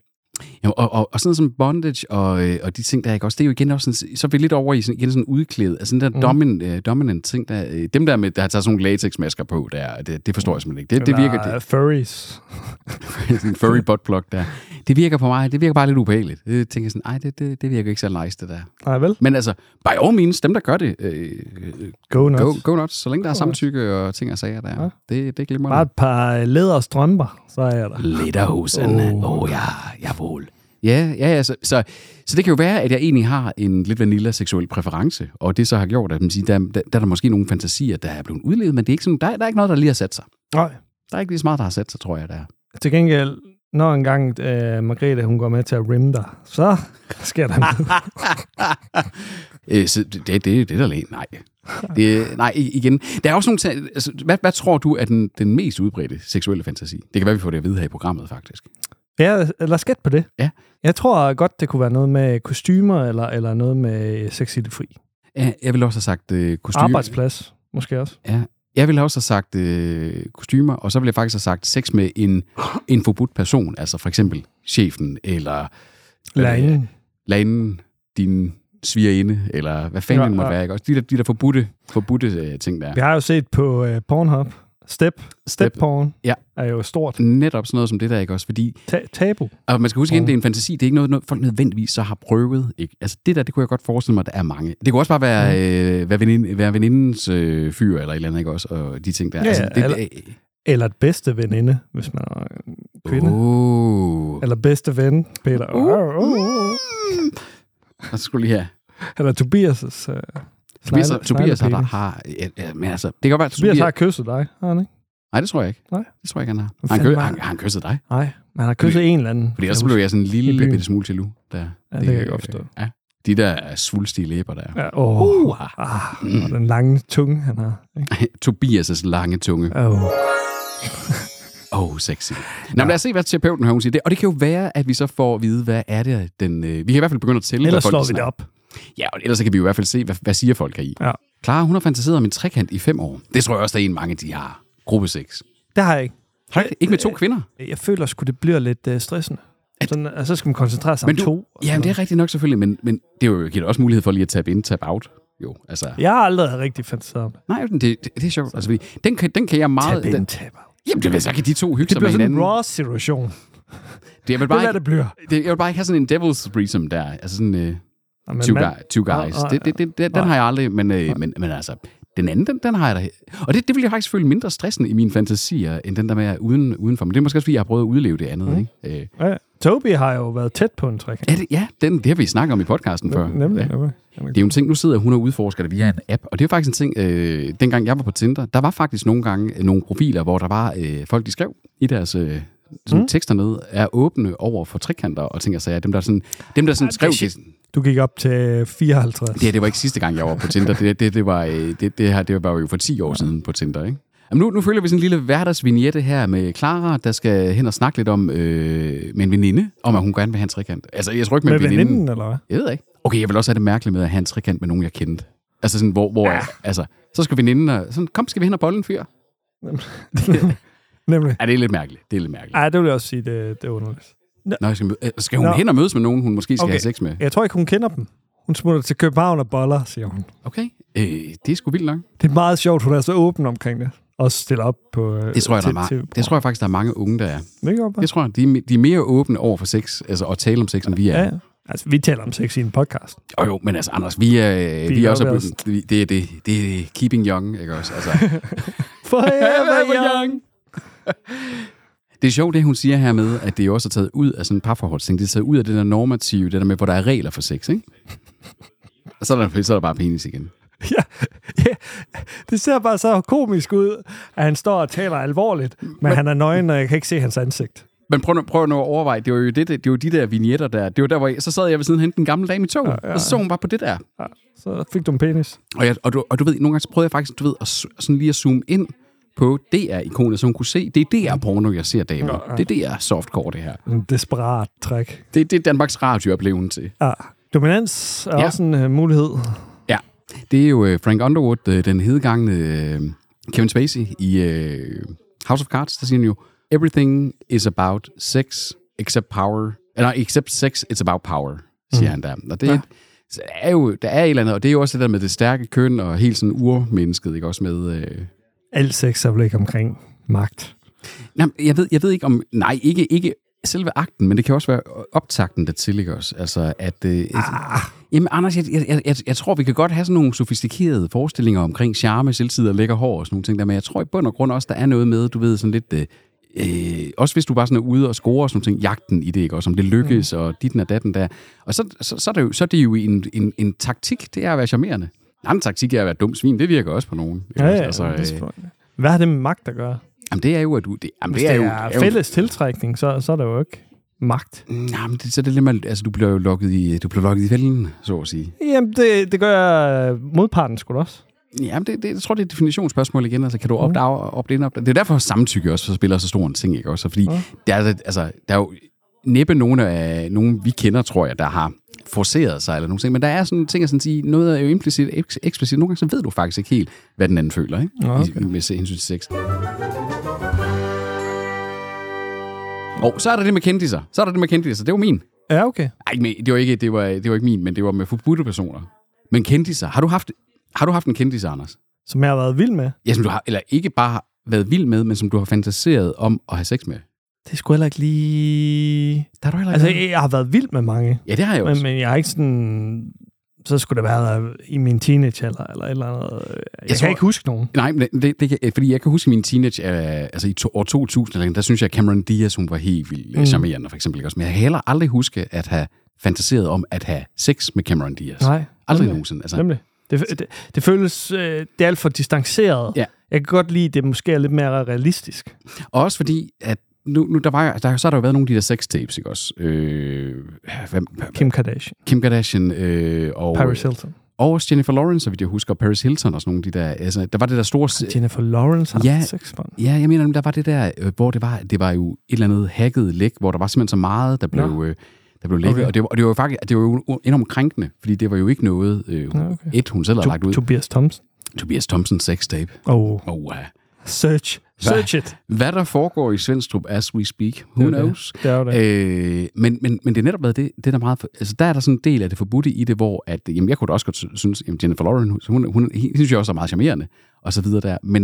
A: Ja, og, og, og sådan noget som bondage og, øh, og de ting, der er ikke også, det er jo igen også sådan, så er vi lidt over i sådan, igen sådan udklædet, altså den der mm.
C: Mm.
A: domin, øh, dominant ting, der, øh, dem der med, der har taget sådan nogle latexmasker på, der, det, det forstår jeg simpelthen ikke. Det, det virker, det,
C: Eller øh, furries.
A: sådan en furry butt plug der, det virker på mig, det virker bare lidt ubehageligt. Det tænker jeg sådan, nej, det, det, det virker ikke så nice, det der.
C: Nej, vel?
A: Men altså, by all means, dem der gør det, øh, øh,
C: Go nuts.
A: go, go nuts, så længe der er
C: Go nuts.
A: samtykke og ting og sager der,
C: Ja.
A: det, det glemmer
C: Bare
A: jeg.
C: et par øh, læderstrømper, så er jeg der.
A: Lidt af hoserne. Åh,
C: Åh.
A: oh. oh, ja, jawohl. Ja, ja, ja så, så, så det kan jo være, at jeg egentlig har en lidt vanilla-seksuel præference, og det så har gjort, at man siger, der, der, der er der måske nogle fantasier, der er blevet udlevet, men det er ikke sådan, der, der er ikke noget, der lige har sat sig.
C: Nej.
A: Der er ikke lige så meget, der har sat sig, tror jeg, der er.
C: Til gengæld, når engang øh, Margrethe, hun går med til at rimme dig, så sker der noget.
A: Øh, så det, det, det er der lige, nej. Det, nej, i- igen. Der er også nogle ting, altså, hvad, hvad tror du er den, den mest udbredte seksuelle fantasi? Det kan være, vi får det at vide her i programmet, faktisk.
C: Ja, lad os gætte på det.
A: Ja.
C: Jeg tror godt, det kunne være noget med kostymer, eller, eller noget med sex i det fri.
A: Ja, Jeg vil også have sagt øh, kostyme.
C: Arbejdsplads, måske også.
A: Jeg ville også have sagt øh, kostymer, og så ville jeg faktisk have sagt sex med en, en forbudt person, altså for eksempel chefen, eller
C: Lærerinden.
A: landen, din svigerinde, eller hvad fanden
C: Ja,
A: ja, det måtte
C: ja.
A: være, ikke? Også de der, de der forbudte, forbudte øh, ting der.
C: Vi
A: Ja.
C: har jo set på øh, Pornhub. Step. Step porn
A: Ja.
C: er jo stort.
A: Netop sådan noget som det der, ikke også? Fordi,
C: Ta- tabu.
A: og man skal huske igen,
C: Ja.
A: det er en fantasi, det er ikke noget, noget folk nødvendigvis så har prøvet, ikke? Altså det der, det kunne jeg godt forestille mig, at der er mange. Det kunne også bare være,
C: Mm.
A: øh, være, veninde, være venindens øh, fyr, eller et eller andet, ikke også? Og de ting der.
C: Ja,
A: altså, det,
C: eller- Eller et bedste veninde, hvis man er en kvinde. Uh.
A: Åh.
C: Eller bedste ven, Peter. Uh. Uh. Uh.
A: Mm. Og så skulle lige her.
C: Eller Tobias' uh,
A: Tobias, Tobias har, der, har ja, ja, men altså, det kan godt være, at Tobias,
C: Tobias har kysset dig, har han ikke?
A: Nej, det tror jeg ikke.
C: Nej.
A: Det tror jeg ikke, han har.
C: Hvad
A: Han, kø,
C: fanden var
A: han, han kysset dig.
C: Nej, men han har kysset en eller anden.
A: Fordi ellers så blev jeg sådan en
C: I
A: lille
C: byen.
A: bitte smule jaloux. Der.
C: Ja, det kan jeg godt forstå.
A: Ja. De der svulstige læber der.
C: Ja, åh, uh.
A: Uh.
C: ah, og den lange tunge, han har. Ikke?
A: Tobias' lange tunge.
C: Oh.
A: Åh, oh, sexy. Nå, men lad os se, hvad terapeuten her, hun siger. Det, og det kan jo være, at vi så får at vide, hvad er det, den... Øh, vi kan i hvert fald begynde at tælle, hvad
C: Ellers
A: folk
C: slår vi
A: snakker.
C: det op.
A: Ja, og ellers så kan vi jo i hvert fald se, hvad, hvad siger folk her i.
C: Ja.
A: Clara, hun har fantaseret om en trekant i fem år. Det tror jeg også, der er en mange, de har. Gruppe 6.
C: Det har jeg ikke.
A: Ikke med to
C: Øh,
A: kvinder.
C: Jeg føler sgu, det bliver lidt uh, stressende. Sådan, at så skal man koncentrere sig om
A: Men du-
C: to. og
A: Ja,
C: sådan
A: det er rigtigt nok selvfølgelig, men, men det er jo, giver dig også mulighed for lige at tabe ind, tabe out. jo. Altså,
C: Jeg har aldrig rigtig fantaseret om det.
A: nej, men det, det, det er sjovt. Altså, fordi den, kan, den kan jeg meget... Den,
C: tab
A: jamen, det, så kan de to hygge
C: Det
A: sig med
C: bliver sådan
A: hinanden.
C: en raw situation.
A: Det, jeg vil
C: Det
A: bare
C: er, hvad
A: ikke,
C: det bliver.
A: det, jeg vil bare ikke have sådan en devil's threesome der. Altså sådan... Øh,
C: Nå, men
A: two,
C: mand,
A: guy, two guys.
C: Nej, nej,
A: det, det, det, det, den har jeg aldrig, men, øh, men, men altså, den anden, den, den har jeg da. Og det, det vil jeg faktisk føle mindre stressende i mine fantasier, end den der med at uden, udenfor. Men det er måske også, fordi jeg har prøvet at udleve det andet. Mm. Ikke? Øh,
C: Ja, Toby har jo været tæt på en trekant.
A: ja, det, ja den, det har vi snakket om i podcasten før.
C: Nemlig.
A: Ja.
C: nemlig.
A: Det er jo en ting, nu sidder hun og udforsker det via en app, og det er jo faktisk en ting, øh, dengang jeg var på Tinder, der var faktisk nogle gange øh, nogle profiler, hvor der var øh, folk, de skrev i deres øh, sådan mm. tekster ned, er åbne over for trekanter og ting og sager. Dem, der sådan, dem, der sådan skrev
C: shit.
A: Ah, det,
C: Du gik op til 54.
A: Det her, det var ikke sidste gang, jeg var på Tinder. Det, det, det, var, øh, det, det, her, det var jo for 10 år siden på Tinder, ikke? Jamen nu, nu følger vi sådan en lille hverdagsvignette her med Clara, der skal hen og snakke lidt om øh, med en veninde, om at hun gerne vil have en trekant. Altså, jeg tror ikke med,
C: med
A: med veninden.
C: veninden,
A: veninden.
C: eller hvad?
A: Jeg ved ikke. Okay, jeg vil også have det mærkeligt med at have en trekant med nogen, jeg kendte. Altså sådan, hvor, hvor ja. altså, så skal veninden og, sådan, kom, skal vi hen og bolle en fyr?
C: Nemlig.
A: Ja, det er lidt mærkeligt. Det er lidt mærkeligt.
C: Ej, det vil jeg også sige, det, det er underligt.
A: Ah. Nå, jeg skal, møde- øh, skal hun
C: Nå.
A: hen og mødes med nogen, hun måske skal
C: Okay.
A: okay. have sex med?
C: Jeg tror ikke, hun kender dem. Hun smutter til København og boller, siger hun.
A: Okay, øh, det er sgu vildt nok.
C: Det er meget sjovt, hun er så åben omkring det. Og stiller op på... øh,
A: Det tror jeg, der er
C: til- til-
A: meget, det tror jeg faktisk, der er mange unge, der er.
C: Det kan godt være.
A: Det tror jeg. De, er me- de er mere åbne over for sex, altså at tale om sex, end vi er.
C: Ja,
A: Ja.
C: ja. Altså, vi taler om sex i en podcast.
A: Og jo, men altså, Anders, vi er, vi
C: er
A: er også...
C: ved
A: Blevet, vi- det, er det, det er keeping young, ikke også? Altså,
C: Forever young.
A: det er sjovt, det hun siger her med, at det jo også er taget ud af sådan en parforholdsting. Det er taget ud af det der normative, det der med, hvor der er regler for sex, ikke? Og så er der, så er der bare penis igen.
C: ja, ja, det ser bare så komisk ud, at han står og taler alvorligt, men, men han er nøgen, og jeg kan ikke se hans ansigt.
A: Men prøv, nu- prøv nu at overveje, det var jo det, det, det var de der vignetter der. Det var der, hvor jeg, så sad jeg ved siden og hentede en gammel dame i tog, ja, ja. og så så hun bare på det der.
C: Ja, så fik du en penis.
A: Og, jeg, og, du, og du ved, nogle gange så prøvede jeg faktisk, du ved, at s- sådan lige at zoome ind på DR-ikonet, så hun kunne se, det er DR-porno, jeg ser damer. Ja, ja. Det er DR-softcore, det her.
C: En desperat træk.
A: Det, det er Danmarks radio oplevelsen til.
C: Ja. Ah, Dominans er ja.
A: Ja.
C: også en uh, mulighed.
A: Ja, det er jo øh, Frank Underwood, øh, den hedegangne øh, Kevin Spacey i øh, House of Cards, der siger han jo, everything is about sex, except power. Eller nej, except sex, it's about power, siger mm. han der. Og det ja. er jo, der er et eller andet, og det er jo også det der med det stærke køn, og helt sådan urmennesket, ikke også med... Øh,
C: Alt sex er vel ikke omkring magt.
A: Nej, jeg ved, jeg ved ikke om... Nej, ikke, ikke selve akten, men det kan også være optakten, der tillægger os. Altså, at... Øh, ah. Jamen, Anders, jeg, jeg, jeg, jeg tror, vi kan godt have sådan nogle sofistikerede forestillinger omkring charme, selvtid og lækker hår og sådan nogle ting der, men jeg tror i bund og grund også, der er noget med, du ved, sådan lidt... Øh, Øh, også hvis du bare sådan er ude og score og sådan nogle ting, jagten i det, ikke? Også om det lykkes, mm. og ditten og datten der. Og så, så, så, er, det jo, så er det jo en, en, en taktik, det er at være charmerende. En anden taktik er at være dum svin, det virker også på nogen. ikke også?
C: det
A: altså, øh,
C: tror jeg. Hvad har det med magt at gøre?
A: jamen det er jo, at du... Det, jamen,
C: Hvis
A: det er, jo,
C: er fælles tiltrækning, så, så er det jo ikke magt.
A: Nej, men det, så er det lidt med, altså du bliver jo lukket i, du bliver lukket i fælden, så at sige.
C: Jamen, det, det gør øh, modparten sgu da også.
A: Jamen, det, det, jeg tror, det er et definitionsspørgsmål igen. Altså, kan du opdage, opdage, ind, opdage? Det er derfor, samtykke også spiller så stor en ting, ikke også? Fordi der, er, altså, der er jo næppe nogen, af, nogen, vi kender, tror jeg, der har forceret sig eller nogle ting. Men der er sådan ting at sådan sige, noget er jo implicit, eks- eksplicit. Nogle gange så ved du faktisk ikke helt, hvad den anden føler, ikke? Okay. I, med hensyn til sex. Og så er der det med kendiser. Så er der det med kendiser. Det var min.
C: Ja, okay.
A: Ej, men det var ikke, det var, det var ikke min, men det var med forbudte personer. Men kendiser. Har du haft, har du haft en kendis, Anders?
C: Som jeg har været vild med.
A: Ja, som du har, eller ikke bare har været vild med, men som du har fantaseret om at have sex med.
C: Det skulle heller ikke lige...
A: Der er du heller
C: Altså, jeg jeg har været vild med mange,
A: Ja, det har jeg også.
C: men, men jeg har ikke sådan... Så skulle det være øh, i min teenagealder eller et eller andet. Jeg, jeg kan
A: tror-
C: ikke huske nogen.
A: Nej, men det, det kan, fordi jeg kan huske min teenage, øh, altså i to, år 2000, eller sådan, der synes jeg, Cameron Diaz, hun var helt vildt
C: Mm.
A: mm. charmerende, for eksempel. ikke Også. Men jeg kan heller aldrig huske at have fantaseret om at have sex med Cameron Diaz.
C: Nej.
A: aldrig
C: nemlig.
A: nogensinde. Altså,
C: Nemlig. Det, det, det føles... Øh, det er alt for distanceret.
A: Ja.
C: Jeg kan godt lide, at det måske er lidt mere realistisk.
A: Og også fordi, at nu, nu der var, der, så har der jo været nogle af de der sex tapes, ikke også? Øh, hvem,
C: Kim Kardashian,
A: Kim Kardashian øh, og,
C: Paris Hilton,
A: og også Jennifer Lawrence, så vidt jeg husker, og Paris Hilton og sådan nogle af de der... Altså, der var det der store... se-
C: Jennifer Lawrence har
A: Ja.
C: haft sex for
A: Ja, jeg mener, der var det der, øh, hvor det var, det var jo et eller andet hacket læk, hvor der var simpelthen så meget, der blev, øh, der blev lækket.
C: Okay.
A: Okay. Og, det var, og det var jo faktisk det var jo u- enormt krænkende, fordi det var jo ikke noget, øh,
C: Ja, okay.
A: et, hun selv havde lagt
C: To,
A: ud.
C: Tobias Thompson.
A: Tobias Thompson sex tape.
C: Og
A: Oh, uh.
C: Search. Search it.
A: Hvad der foregår i Svendstrup as we speak, who
C: Det er jo
A: knows?
C: Det er jo det.
A: Øh, men, men, men det er netop været det, det er der meget... for- Altså, der er der sådan en del af det forbudte i det, hvor at, jamen, jeg kunne da også godt sy- synes, jamen, Jennifer Lawrence, hun, hun, hun hende synes jeg også er meget charmerende, og så videre der. Men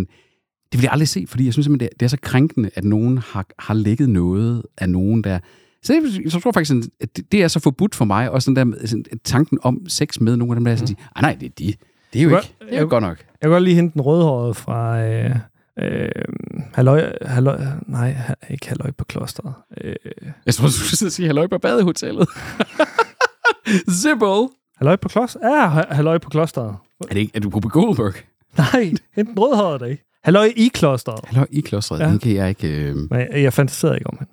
A: det vil jeg aldrig se, fordi jeg synes simpelthen, det er, det er så krænkende, at nogen har, har lægget noget af nogen, der... Så jeg, jeg tror faktisk, sådan, at det, det er så forbudt for mig, og sådan der sådan, tanken om sex med nogle af dem, der er sådan, mm. nej, det er de. Det er jo
C: Hva-
A: ikke, det er jo
C: jeg-
A: godt nok.
C: Jeg kan godt lige hente den rødhårede fra... Øh, øh, halløj, halløj, nej, ha- ikke halløj på klosteret. Øh,
A: Jeg tror, du skulle sidde og sige, halløj på badehotellet. Zippo.
C: halløj på klosteret? Ja, ha- halløj på klosteret.
A: Er, det ikke, er du på Goldberg?
C: Nej, hente den rødhårede dag. Halløj i klosteret.
A: Halløj i klostret, ja.
C: Ja.
A: den kan jeg ikke... Øh...
C: Men jeg, jeg fantaserede ikke om hende.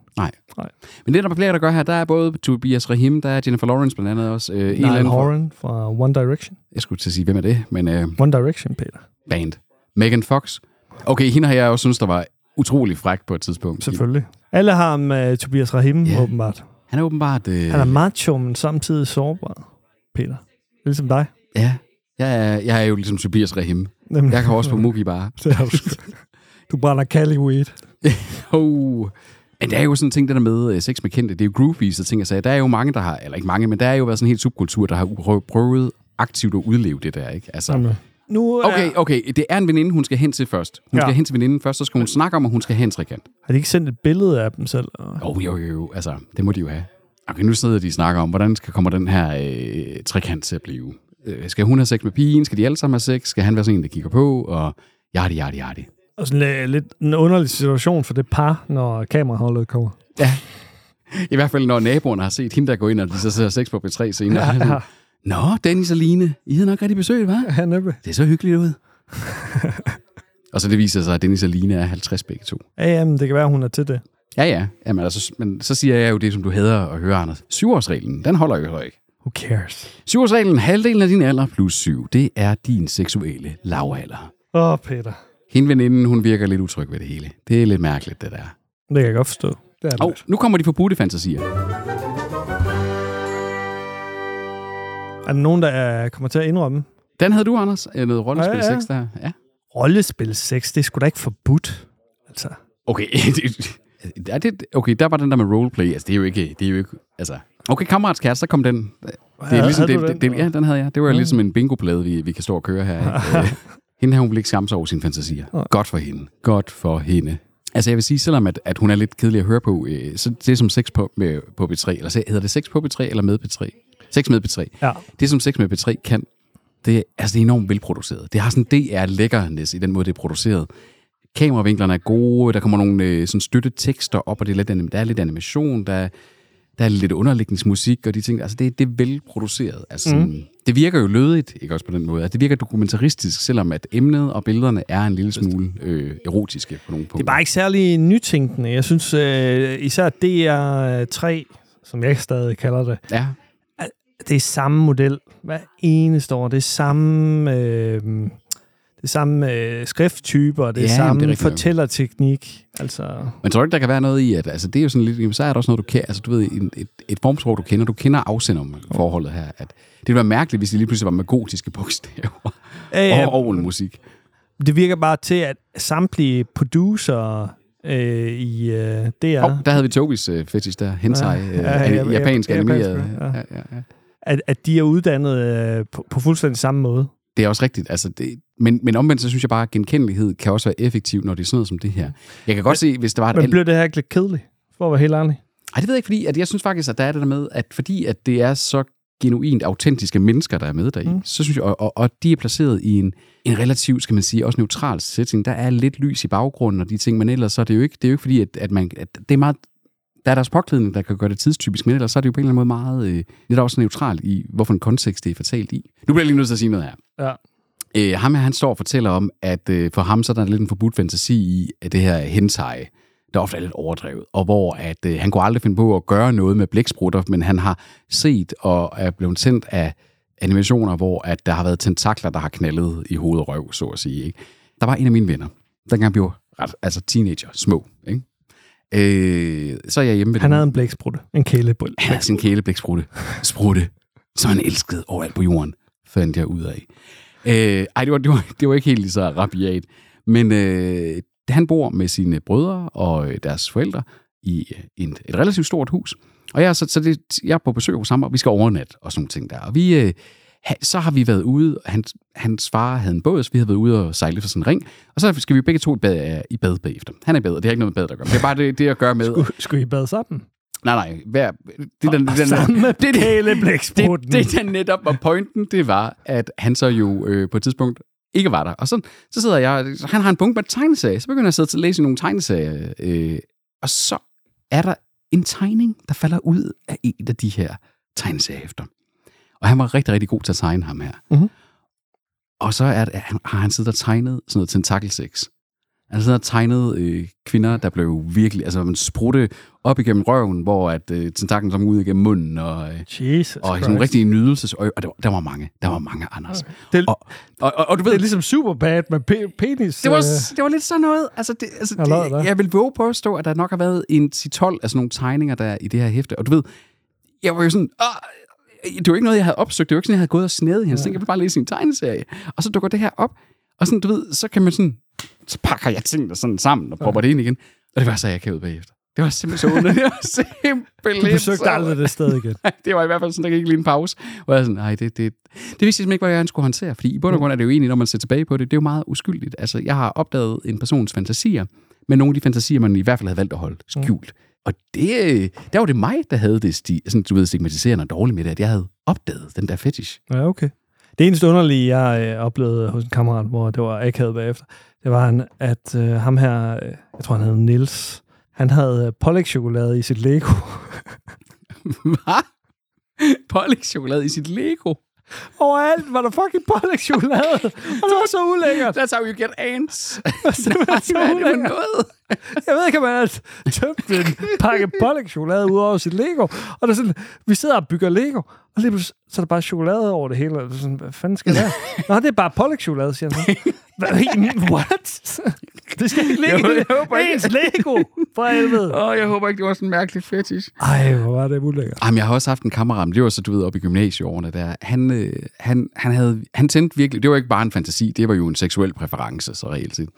A: Men det, der er flere, der gør her, der er både Tobias Rahim, der er Jennifer Lawrence blandt andet også. Øh, en eller
C: Niall
A: anden fra-
C: Horan fra One Direction.
A: Jeg skulle til at sige, hvem er det? Men øh,
C: One Direction, Peter.
A: band. Megan Fox. Okay, hende har jeg også synes, der var utrolig fræk på et tidspunkt.
C: Selvfølgelig. Alle har ham uh, Tobias Rahim,
A: Ja.
C: yeah. åbenbart.
A: Han er åbenbart... Øh,
C: Han er macho, men samtidig sårbar, Peter. Ligesom dig.
A: ja, jeg er, jeg er jo ligesom Tobias Rahim.
C: Nemlig.
A: Jeg kan også på Mookie bare.
C: Det er du sgu. Du brænder Cali Weed.
A: Oh. Men der er jo sådan en ting, det der med øh, sex med kendte, det er jo groupies og ting, jeg sagde. Der er jo mange, der har, eller ikke mange, men der er jo været sådan en helt subkultur, der har u- prøvet aktivt at udleve det der, ikke? Altså,
C: Nu øh, er...
A: okay, okay, det er en veninde, hun skal hen til først. Hun
C: Ja.
A: skal hen til veninden først, så skal hun snakke om, at hun skal have en trekant.
C: Har de ikke sendt et billede af dem selv? Og...
A: Jo, jo, jo, jo. Altså, det må de jo have. Okay, nu sidder de og snakker om, hvordan skal kommer den her øh, trekant til at blive? Øh, skal hun have sex med pigen? Skal de alle sammen have sex? Skal han være sådan en, der kigger på? Og yadi, yadi, yadi.
C: Og sådan lidt, lidt en underlig situation for det par, når kameraholdet kommer.
A: I hvert fald, når naboerne har set hende, der går ind, og de så sidder sex på B3 senere. Ja, ja. Nå, Dennis og Line, I havde nok rigtig besøg, hva'?
C: Ja, næppe.
A: Det er så hyggeligt ud. og så det viser sig, at Dennis og Line er 50 begge to.
C: Ja, jamen, det kan være, hun er til det.
A: Ja, ja. Jamen, altså, men så siger jeg jo det, som du hader at høre, Anders. Syvårsreglen, den holder jo heller ikke.
C: Who cares?
A: Syvårsreglen, halvdelen af din alder plus syv, det er din seksuelle lavalder.
C: Åh, oh, Peter.
A: Hende veninden, hun virker lidt utryg ved det hele. Det er lidt mærkeligt, det der.
C: Det kan jeg godt forstå. Det er
A: Og
C: det.
A: nu kommer de forbudte fantasier.
C: Er der nogen, der er, kommer til at indrømme?
A: Den havde du, Anders, øh, noget rollespil
C: Ja, ja.
A: 6 der. Ja.
C: Rollespil 6, det er sgu da ikke forbudt. Altså,
A: Okay, det- er det, okay, der var den der med roleplay. Altså, det er jo ikke... Det er jo ikke altså. Okay, kammerats kæreste, så kom den. Det er ligesom,
C: Havde
A: det,
C: du
A: det, det, ja, den havde jeg. Det var
C: Mm.
A: ligesom en bingoplade, vi, vi kan stå og køre her. ikke? Øh, hende her, hun vil ikke skamme sig over sine fantasier.
C: Nej.
A: Godt for hende. Godt for hende. Altså jeg vil sige, selvom at, at hun er lidt kedelig at høre på, øh, så det er som sex på, med, på B3, eller så hedder det sex på B3 eller med B3? Sex med B3.
C: Ja.
A: Det som sex med B3 kan, det, er- altså, det er enormt velproduceret. Det har sådan DR lækkerness i den måde, det er produceret. Kameravinklerne er gode, der kommer nogle øh, sådan støttetekster op, og det er lidt, anim- der er lidt animation, der er, der er lidt underlægningsmusik og de ting. Altså, det, det er velproduceret. Altså, mm. Det virker jo lødigt, ikke også på den måde. Altså, det virker dokumentaristisk, selvom at emnet og billederne er en lille smule øh, erotiske på nogle punkter.
C: Det er bare ikke særlig nytænkende. Jeg synes øh, især DR3, som jeg stadig kalder det,
A: Ja,
C: det er samme model. Hver eneste år. Det er samme, øh, det er samme øh, skrifttyper, det er
A: Ja,
C: ja,
A: jamen,
C: samme
A: det er
C: det
A: rigtigt
C: er
A: nok.
C: fortællerteknik. Altså,
A: men tror du ikke, der kan være noget i, at altså, det er jo sådan lidt, jamen, så er der også noget, du kender, altså du ved, en, et, et formsprog, du kender, du kender afsenderforholdet her, at det ville være mærkeligt, hvis det lige pludselig var med gotiske bogstaver
C: øh,
A: og orgelmusik. musik.
C: det virker bare til, at samtlige producer øh, i øh, DR,
A: Ja. Oh, der havde vi Tobis øh, fetish der, hentai, ja.
C: Ja,
A: Øh,
C: ja, ja,
A: ja,
C: ja,
A: japansk
C: ja,
A: animeret.
C: japansk,
A: Ja.
C: ja.
A: Ja, ja, ja.
C: at, at de er uddannet øh, på, på fuldstændig samme måde.
A: Det er også rigtigt. Altså, det, men, men omvendt, så synes jeg bare, at genkendelighed kan også være effektiv, når det er sådan noget som det her. Jeg kan godt se, hvis der var et...
C: Men bliver det her ikke lidt kedeligt? For at være helt ærlig.
A: Ej, det ved jeg ikke, fordi at jeg synes faktisk, at der er det der med, at fordi at det er så genuint autentiske mennesker, der er med deri, mm.
C: Mm.
A: så synes jeg, og, og, og de er placeret i en, en relativt, skal man sige, også neutral setting. Der er lidt lys i baggrunden og de ting, men ellers så er det jo ikke, det er jo ikke fordi, at, at, man, at det er meget, der er deres påklædning, der kan gøre det tidstypisk, men ellers så er det jo på en eller anden måde meget, øh, lidt også neutralt i, hvorfor en kontekst det er fortalt i. Nu bliver jeg lige nødt til at sige noget her.
C: Ja.
A: Øh, ham her, han står og fortæller om, at øh, for ham så er der lidt en forbudt fantasi i at det her hentai, der ofte er lidt overdrevet, og hvor at, øh, han kunne aldrig finde på at gøre noget med blæksprutter, men han har set og er blevet sendt af animationer, hvor at der har været tentakler, der har knaldet i hoved og røv, så at sige. Ikke? Der var en af mine venner, dengang blev ret, altså teenager, små. Ikke? Øh, så er jeg hjemme ved
C: Han
A: dem.
C: havde en blæksprutte. En kælebrille.
A: Han havde sin kæleblæksprutte. Sprutte. Som han elskede overalt på jorden, fandt jeg ud af. Øh, ej, det var, det, var, det var ikke helt lige så rabiat. Men øh, Da han bor med sine brødre og øh, deres forældre i øh, en, et relativt stort hus. Og jeg, er så, så det, jeg er på besøg hos ham, og vi skal overnatte og sådan nogle ting der. Og vi, øh, ha- så har vi været ude, og hans, hans far havde en båd, så vi havde været ude og sejle for sådan en ring. Og så skal vi begge to i bad, øh, i bad bagefter. Han er i bad, og det har ikke noget med bad at gøre. Det er bare det, det at gøre med...
C: Skulle, skulle I bade sammen?
A: Nej, nej. Hver, det, der, det, der,
C: Sammen med
A: det, det,
C: Pæle
A: det,
C: Blæksprutten.
A: det, der netop var pointen, det var, at han så jo øh, på et tidspunkt ikke var der. Og sådan, så sidder jeg, han har en bunke med tegneserier, så begynder jeg at sidde til at læse nogle tegneserier. Øh, og så er der en tegning, der falder ud af en af de her tegneserier efter. Og han var rigtig, rigtig god til at tegne ham her.
C: Mhm.
A: Og så er det, at han, har han siddet og tegnet sådan noget tentakelsex. Han sidder og tegnet øh, kvinder, der blev virkelig, altså man sprutte op igennem røven, hvor at øh, tentaklen så kom ud igennem munden, og øh,
C: Jesus
A: og sådan
C: Christ.
A: nogle rigtige nydelsesøje. Og der, var- der var mange. Der var mange, Anders. Okay.
C: Det,
A: Og, og, og, og du ved,
C: det er
A: det,
C: ligesom Superbad med pe- penis.
A: det, var,
C: øh,
A: det var lidt sådan noget. Altså, det, altså,
C: Jeg lader
A: det,
C: dig.
A: jeg vil våge på at stå, at der nok har været en 10-12 af sådan nogle tegninger, der er i det her hæfte. Og du ved, jeg var jo sådan... Åh, det var ikke noget, jeg havde opsøgt. Det var ikke sådan, jeg havde gået og snedet i hans ja. ting. Jeg ville bare læse en tegneserie. Og så dukker det her op. Og sådan, du ved, så kan man sådan... Så pakker jeg tingene sådan sammen og propper det ind igen. Og det var så, jeg kan ud bagefter. Det var simpelthen så underligt. Det var simpelthen
C: Du besøgte
A: så
C: aldrig det sted igen.
A: det var i hvert fald sådan, der gik lige en pause, hvor jeg sådan, nej, det, det, det vidste jeg simpelthen ikke, hvad jeg skulle håndtere, fordi i bund og grund er det jo egentlig, når man ser tilbage på det, det er jo meget uskyldigt. Altså, jeg har opdaget en persons fantasier, men nogle af de fantasier, man i hvert fald havde valgt at holde skjult. Og det, øh, der var det mig, der havde det sti, sådan, du ved, stigmatiserende og dårligt med det, at jeg havde opdaget den der fetish.
C: Ja, okay. Det eneste underlige, jeg øh, oplevede hos en kammerat, hvor det var akavet bagefter, det var, han, at øh, ham her, øh, jeg tror, han hed Nils, han havde øh, pålægtschokolade i sit Lego.
A: Hvad? Pålægtschokolade i sit Lego.
C: Overalt var der fucking pålægtschokolade, og det var så ulækkert.
A: That's how you get ants.
C: Det var så
A: Hvad er det for
C: ulækkert.
A: noget?
C: Jeg ved ikke, om han havde tømt en pakke pålægtschokolade ud over sit Lego. Og det er sådan, vi sidder og bygger Lego, og lige pludselig, så er der bare chokolade over det hele. Og det er sådan, hvad fanden skal det være? Nå, det er bare pålægtschokolade, siger han så. Hvad? What? Det skal ikke ligge
A: Jeg
C: i
A: håber ikke-
C: ens Lego, for helvede.
A: Åh, oh, jeg håber ikke, det var sådan en mærkelig fetish.
C: Ej, hvor var det ulækkert.
A: Jamen, jeg har også haft en kammerat, men det var så, du ved, op i gymnasieårene der. Han, øh, han, han, havde, han tændte virkelig, det var ikke bare en fantasi, det var jo en seksuel præference, så reelt set.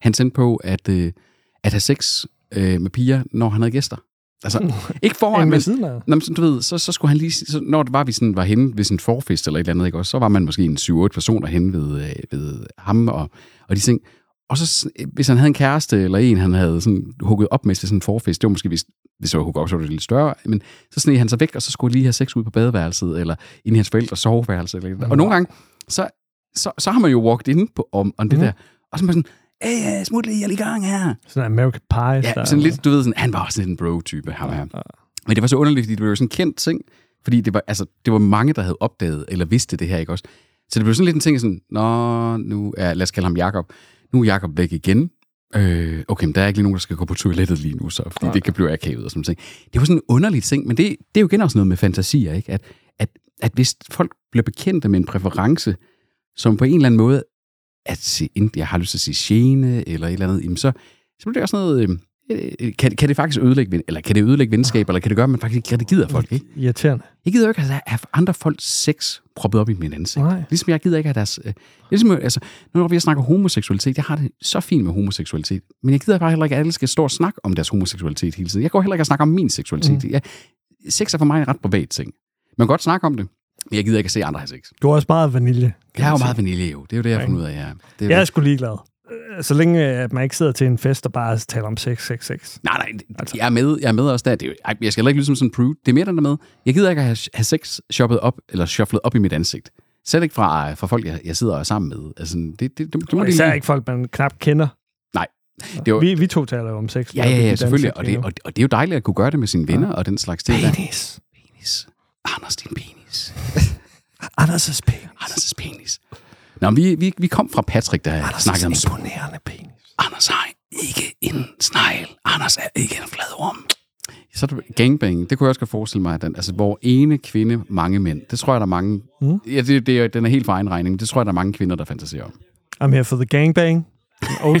A: Han tændte på at, øh, at have sex øh, med piger, når han havde gæster. Altså, ikke foran,
C: En ved
A: men,
C: siden af.
A: Nå, men sådan, du ved, så, så skulle han lige, så, når det var, vi sådan var henne ved sådan en forfest eller et eller andet, ikke? Også, så var man måske en 7-8 personer henne ved, øh, ved ham og, og de ting. Og så, s- øh, hvis han havde en kæreste eller en, han havde sådan hugget op med til sådan en forfest, det var måske, hvis, hvis det var hugget op, så var det lidt større, men så sneg han sig væk, og så skulle han lige have sex ud på badeværelset, eller ind i hans forældres soveværelse. Eller, mm. Og nogle gange, så, så, så har man jo walked in på, om, om det
C: Mhm.
A: der, og så er man sådan, Hey, øh, smut lige, jeg er lige i gang her.
C: Sådan en American Pie.
A: Ja, sådan lidt, du ved, sådan, han var også lidt en bro-type, ham her. Men det var så underligt, fordi det blev jo sådan en kendt ting, fordi det var, altså, det var mange, der havde opdaget eller vidste det her, ikke også? Så det blev sådan lidt en ting, sådan, nå, nu er, lad os kalde ham Jakob. Nu er Jakob væk igen. Øh, okay, men der er ikke lige nogen, der skal gå på toilettet lige nu, så, fordi det kan blive akavet og sådan ting. Det var sådan en underlig ting, men det, det er jo igen også noget med fantasier, ikke? At, at, at hvis folk bliver bekendte med en præference, som på en eller anden måde, at se, enten jeg har lyst til at sige gene, eller et eller andet, jamen så, så bliver det også noget, øh, øh, kan, kan det faktisk ødelægge, ven- eller kan det ødelægge venskaber, eller kan det gøre, at man faktisk ikke rigtig gider folk, ikke?
C: Irriterende.
A: Jeg gider jo ikke have have andre folks sex proppet op i min ansigt.
C: Nej.
A: Ligesom jeg gider ikke have deres... Øh, ligesom, jeg- altså, nu når vi snakker homoseksualitet, jeg har det så fint med homoseksualitet, men jeg gider bare heller ikke, at alle skal stå og snakke om deres homoseksualitet hele tiden. Jeg går heller ikke og snakker om min seksualitet. Mm. Jeg, sex er for mig en ret privat ting. Man kan godt snakke om det, men jeg gider ikke at se andre have sex.
C: Du er også meget vanilje. kan
A: Jeg er jo
C: man sige.
A: meget vanilje, jo. Det er jo det, jeg har
C: Ja, altså-
A: fundet ud af, ja. Det er
C: Jeg er sgu ligeglad. Øh, Så længe øh, at man ikke sidder til en fest og bare taler om sex, sex, sex.
A: Nej, nej, altså. jeg, er med, jeg er med også der. Det er, jo- ej, jeg skal heller ikke lyde som sådan en prude. Det er mere den der med, jeg gider ikke at have, have sex shoppet op, eller shufflet op i mit ansigt. Selv ikke fra, fra folk, jeg, jeg sidder og er sammen med. Altså, det, det, det, det må
C: Og
A: de
C: især
A: lige-
C: ikke folk, man knap kender.
A: Nej. Det var,
C: Vi, vi to taler jo om sex.
A: ja, ja,
C: Vi
A: ja,
C: danser
A: selvfølgelig. Og
C: lige
A: det,
C: nu.
A: og, det- og det er jo dejligt at kunne gøre det med sine venner og den slags ting. der.
C: Penis.
A: Penis. Anders, din penis.
C: Anders' penis.
A: Anders' penis. Nå, men vi, vi, vi kom fra Patrick, der Anders snakkede om...
C: imponerende penis.
A: Anders har ikke en snegl. Anders er ikke en fladorm. Så er det gangbang. Det kunne jeg også godt forestille mig. at Den, altså, hvor ene kvinde, mange mænd. Det tror jeg, der er mange... Mm. Ja, det, det, er- den er helt for egen regning. men Det tror jeg, der er mange kvinder, der fantaserer om.
C: I'm here for the gangbang. Old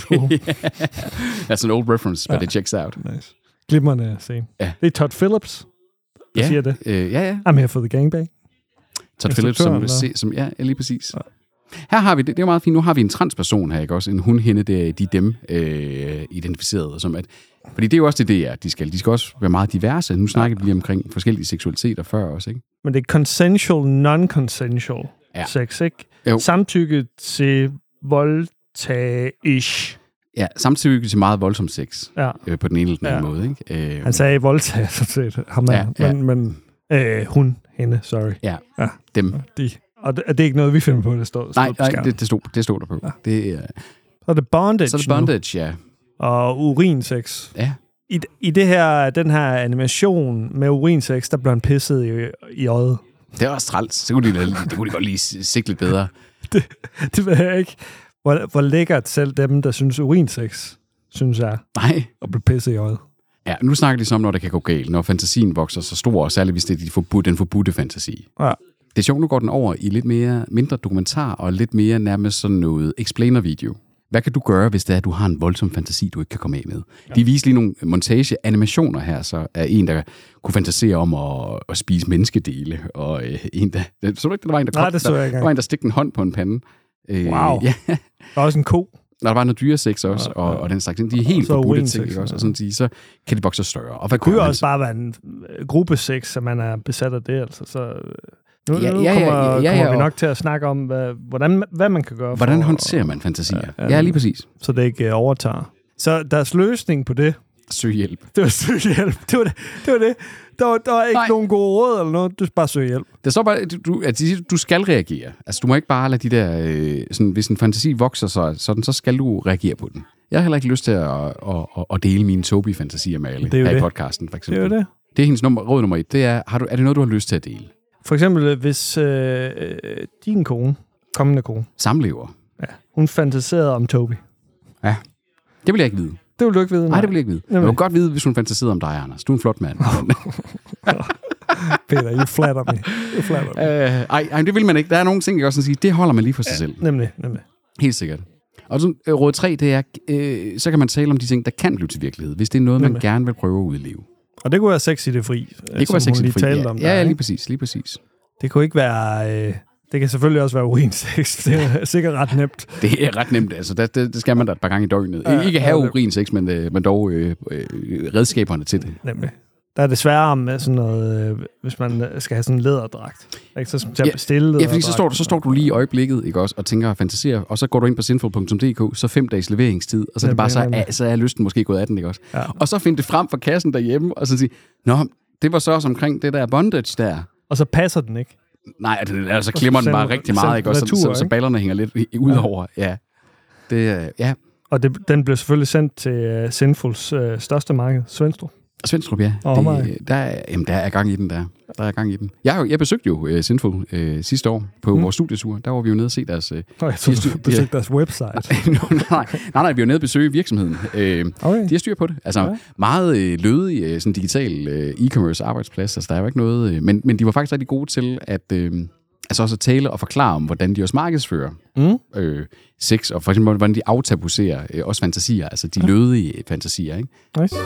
C: school.
A: That's an Altså, old reference, but ja. it checks out.
C: nice. Glimrende scene.
A: Ja.
C: Det er Todd Phillips.
A: Ja,
C: siger det.
A: Øh, ja, ja.
C: I'm here for the gangbang.
A: Todd Phillips, som,
C: Instruktøren,
A: se- som... Ja, lige præcis. Her har vi, det, det er jo meget fint, nu har vi en transperson her, ikke også? En hun, hende, det er de dem øh, identificeret som at... Fordi det er jo også det, det er, de skal. De skal også være meget diverse. Nu snakkede vi lige omkring forskellige seksualiteter før også, ikke?
C: Men det er consensual, non-consensual
A: Ja.
C: ja. sex, ikke?
A: Jo.
C: Samtykke til voldtag-ish.
A: Ja, samtidig til meget voldsom sex
C: Ja.
A: øh, på den ene eller den anden
C: Ja.
A: måde, ikke? Øh,
C: Han sagde voldtag, sådan set. Ham der.
A: Ja,
C: Ja,
A: ja.
C: ja. Men, men øh, hun, hende, sorry.
A: dem.
C: De. Og det, det er ikke noget, vi finder på, det står, står
A: Nej,
C: på
A: nej
C: skærmen.
A: det, det, stod, det stod der på. Ja. Det, øh,
C: Så er det bondage,
A: så er det
C: bondage.
A: bondage, ja.
C: Nu, og urinsex.
A: ja.
C: I, I det her, den her animation med urinsex, der blev han pisset i, i øjet.
A: Det er også træls. Så kunne de, det kunne de godt lige sigte lidt bedre.
C: Det ved jeg ikke. Hvor, hvor lækkert selv dem, der synes urinsex, synes jeg,
A: Nej.
C: at blive pisset i øjet.
A: Ja, nu snakker de så om, når det kan gå galt, når fantasien vokser så stor, og særligt hvis det er de forbud, den forbudte fantasi.
C: Ja.
A: Det er sjovt, nu går den over i lidt mere mindre dokumentar og lidt mere nærmest sådan noget explainer-video. Hvad kan du gøre, hvis det er, at du har en voldsom fantasi, du ikke kan komme af med? Ja. De viser lige nogle montage-animationer her, så er en, der kunne fantasere om at, at spise menneskedele, og øh, en, der... Så du ikke, der var en, der,
C: Nej,
A: kom,
C: det så
A: der,
C: jeg ikke
A: der
C: engang.
A: var en, der stikte en hånd på en pande. Øh,
C: Wow.
A: Ja,
C: Der er også en ko.
A: når der var noget dyresex også, og, og den slags ting. De er helt
C: Så
A: forbudte
C: urinsex,
A: ting, ikke også?
C: ja.
A: Og sådan, de, så kan de vokse større. Og hvad
C: Det kunne
A: gør
C: jo
A: man
C: også bare være en øh, gruppesex, så man er besat af det. Altså. Så øh, nu,
A: Ja,
C: ja, nu
A: ja, ja,
C: ja, kommer, ja,
A: ja,
C: ja,
A: ja,
C: ja, kommer vi
A: og-
C: nok til at snakke om, hvad, hvordan, hvad man kan gøre,
A: Hvordan
C: for,
A: håndterer man fantasier? Ja,
C: Ja, ja.
A: ja lige præcis.
C: så det ikke øh, overtager. Så deres løsning på det,
A: Søg hjælp.
C: det var søg hjælp. Det var det. det, var det. Der, var, der var ikke
A: Nej.
C: Nej. nogen gode råd eller noget. Du skal bare søge hjælp.
A: Der står bare, at du, at de siger, du skal reagere. Altså, du må ikke bare lade de der... Øh, sådan, hvis en fantasi vokser sig sådan, så skal du reagere på den. Jeg har heller ikke lyst til at, at, at, at dele mine Tobi-fantasier med alle
C: Det er jo
A: her i
C: det.
A: podcasten, for
C: Det
A: eksempel.
C: er jo det.
A: det er hendes nummer, råd nummer et. Det er, har du, er det noget, du har lyst til at dele?
C: For eksempel, øh, hvis øh, øh, din kone, kommende kone,
A: Samlever.
C: hun fantaserede om Toby.
A: Det vil jeg ikke vide.
C: Det vil du ikke vide.
A: Nej, det vil jeg ikke vide. Jeg
C: Jamen.
A: vil godt vide, hvis hun fantaserede om dig, Anders. Du er en flot mand.
C: Peter, you flatter me. You flatter me.
A: Øh, ej, ej, det vil man ikke. Der er nogle ting, jeg kan også sådan sige, det holder man lige for sig selv.
C: Nemlig, nemlig.
A: Helt sikkert. Og så, øh, råd 3, det er, øh, så kan man tale om de ting, der kan blive til virkelighed, hvis det er noget, man
C: Nemlig.
A: gerne vil prøve at udleve.
C: Og det kunne være sex i det fri, øh,
A: Det kunne være
C: som hun
A: sexet
C: lige
A: fri.
C: talte
A: ja.
C: om.
A: ja,
C: der,
A: ja,
C: ikke?
A: lige præcis, lige præcis.
C: Det kunne ikke være... Øh, det kan selvfølgelig også være urinsex. Det er sikkert ret nemt.
A: Det er ret nemt, altså. Der, det, det skal man da et par gange i døgnet. Ja,
C: Ja,
A: ikke
C: ja,
A: have
C: det-
A: urin sex, men, øh, men dog øh, øh, redskaberne til det.
C: Nemlig. Der er desværre om med sådan noget, øh, hvis man øh, skal have sådan en læderdragt. Ikke? Så skal man
A: Ja,
C: bestille
A: Ja, fordi så
C: læderdragt.
A: står, du, så står du lige i øjeblikket ikke også, og tænker og fantaserer, og så går du ind på sinful.dk, så fem dages leveringstid, og så er, det
C: Nemlig,
A: bare, så,
C: nemlig.
A: er, så er lysten måske gået af den, ikke også?
C: Ja.
A: Og så find det frem fra kassen derhjemme, og så sige, nå, det var så også omkring det der bondage der.
C: Og så passer den ikke.
A: Nej, det, altså klemmer den bare
C: Selv-
A: rigtig meget,
C: selv
A: ikke? Også, så,
C: natur,
A: så, så
C: ikke?
A: ballerne hænger lidt i- ud over. Ja. Det, øh, ja.
C: Og det, den blev selvfølgelig sendt til uh, Sinfuls uh, største marked, Svendstrup.
A: Og Svendstrup, ja.
C: Og omegn.
A: det, øh, der, er- jamen, der er gang i den der. Der er gang i den. Jeg, har jo- jeg besøgte jo uh, Sinful uh, sidste år på mm. vores studietur. Der var vi jo nede og se deres... Uh,
C: Nå, jeg tror,
A: Hvis du-
C: du besøgte deres website.
A: nej, nej, nej, vi var nede og besøge virksomheden. Uh,
C: Okay.
A: de har styr på det. Altså ja.
C: Ja.
A: meget øh, lødig øh, sådan digital øh, e-commerce arbejdsplads. Altså der er jo ikke noget... Øh, men, men de var faktisk rigtig gode til at... Øh, altså også at tale og forklare om, hvordan de også markedsfører
C: Mm.
A: øh, sex, og for eksempel, hvordan de aftabuserer øh, også fantasier, altså de lødige fantasier. Ikke?
C: Nice.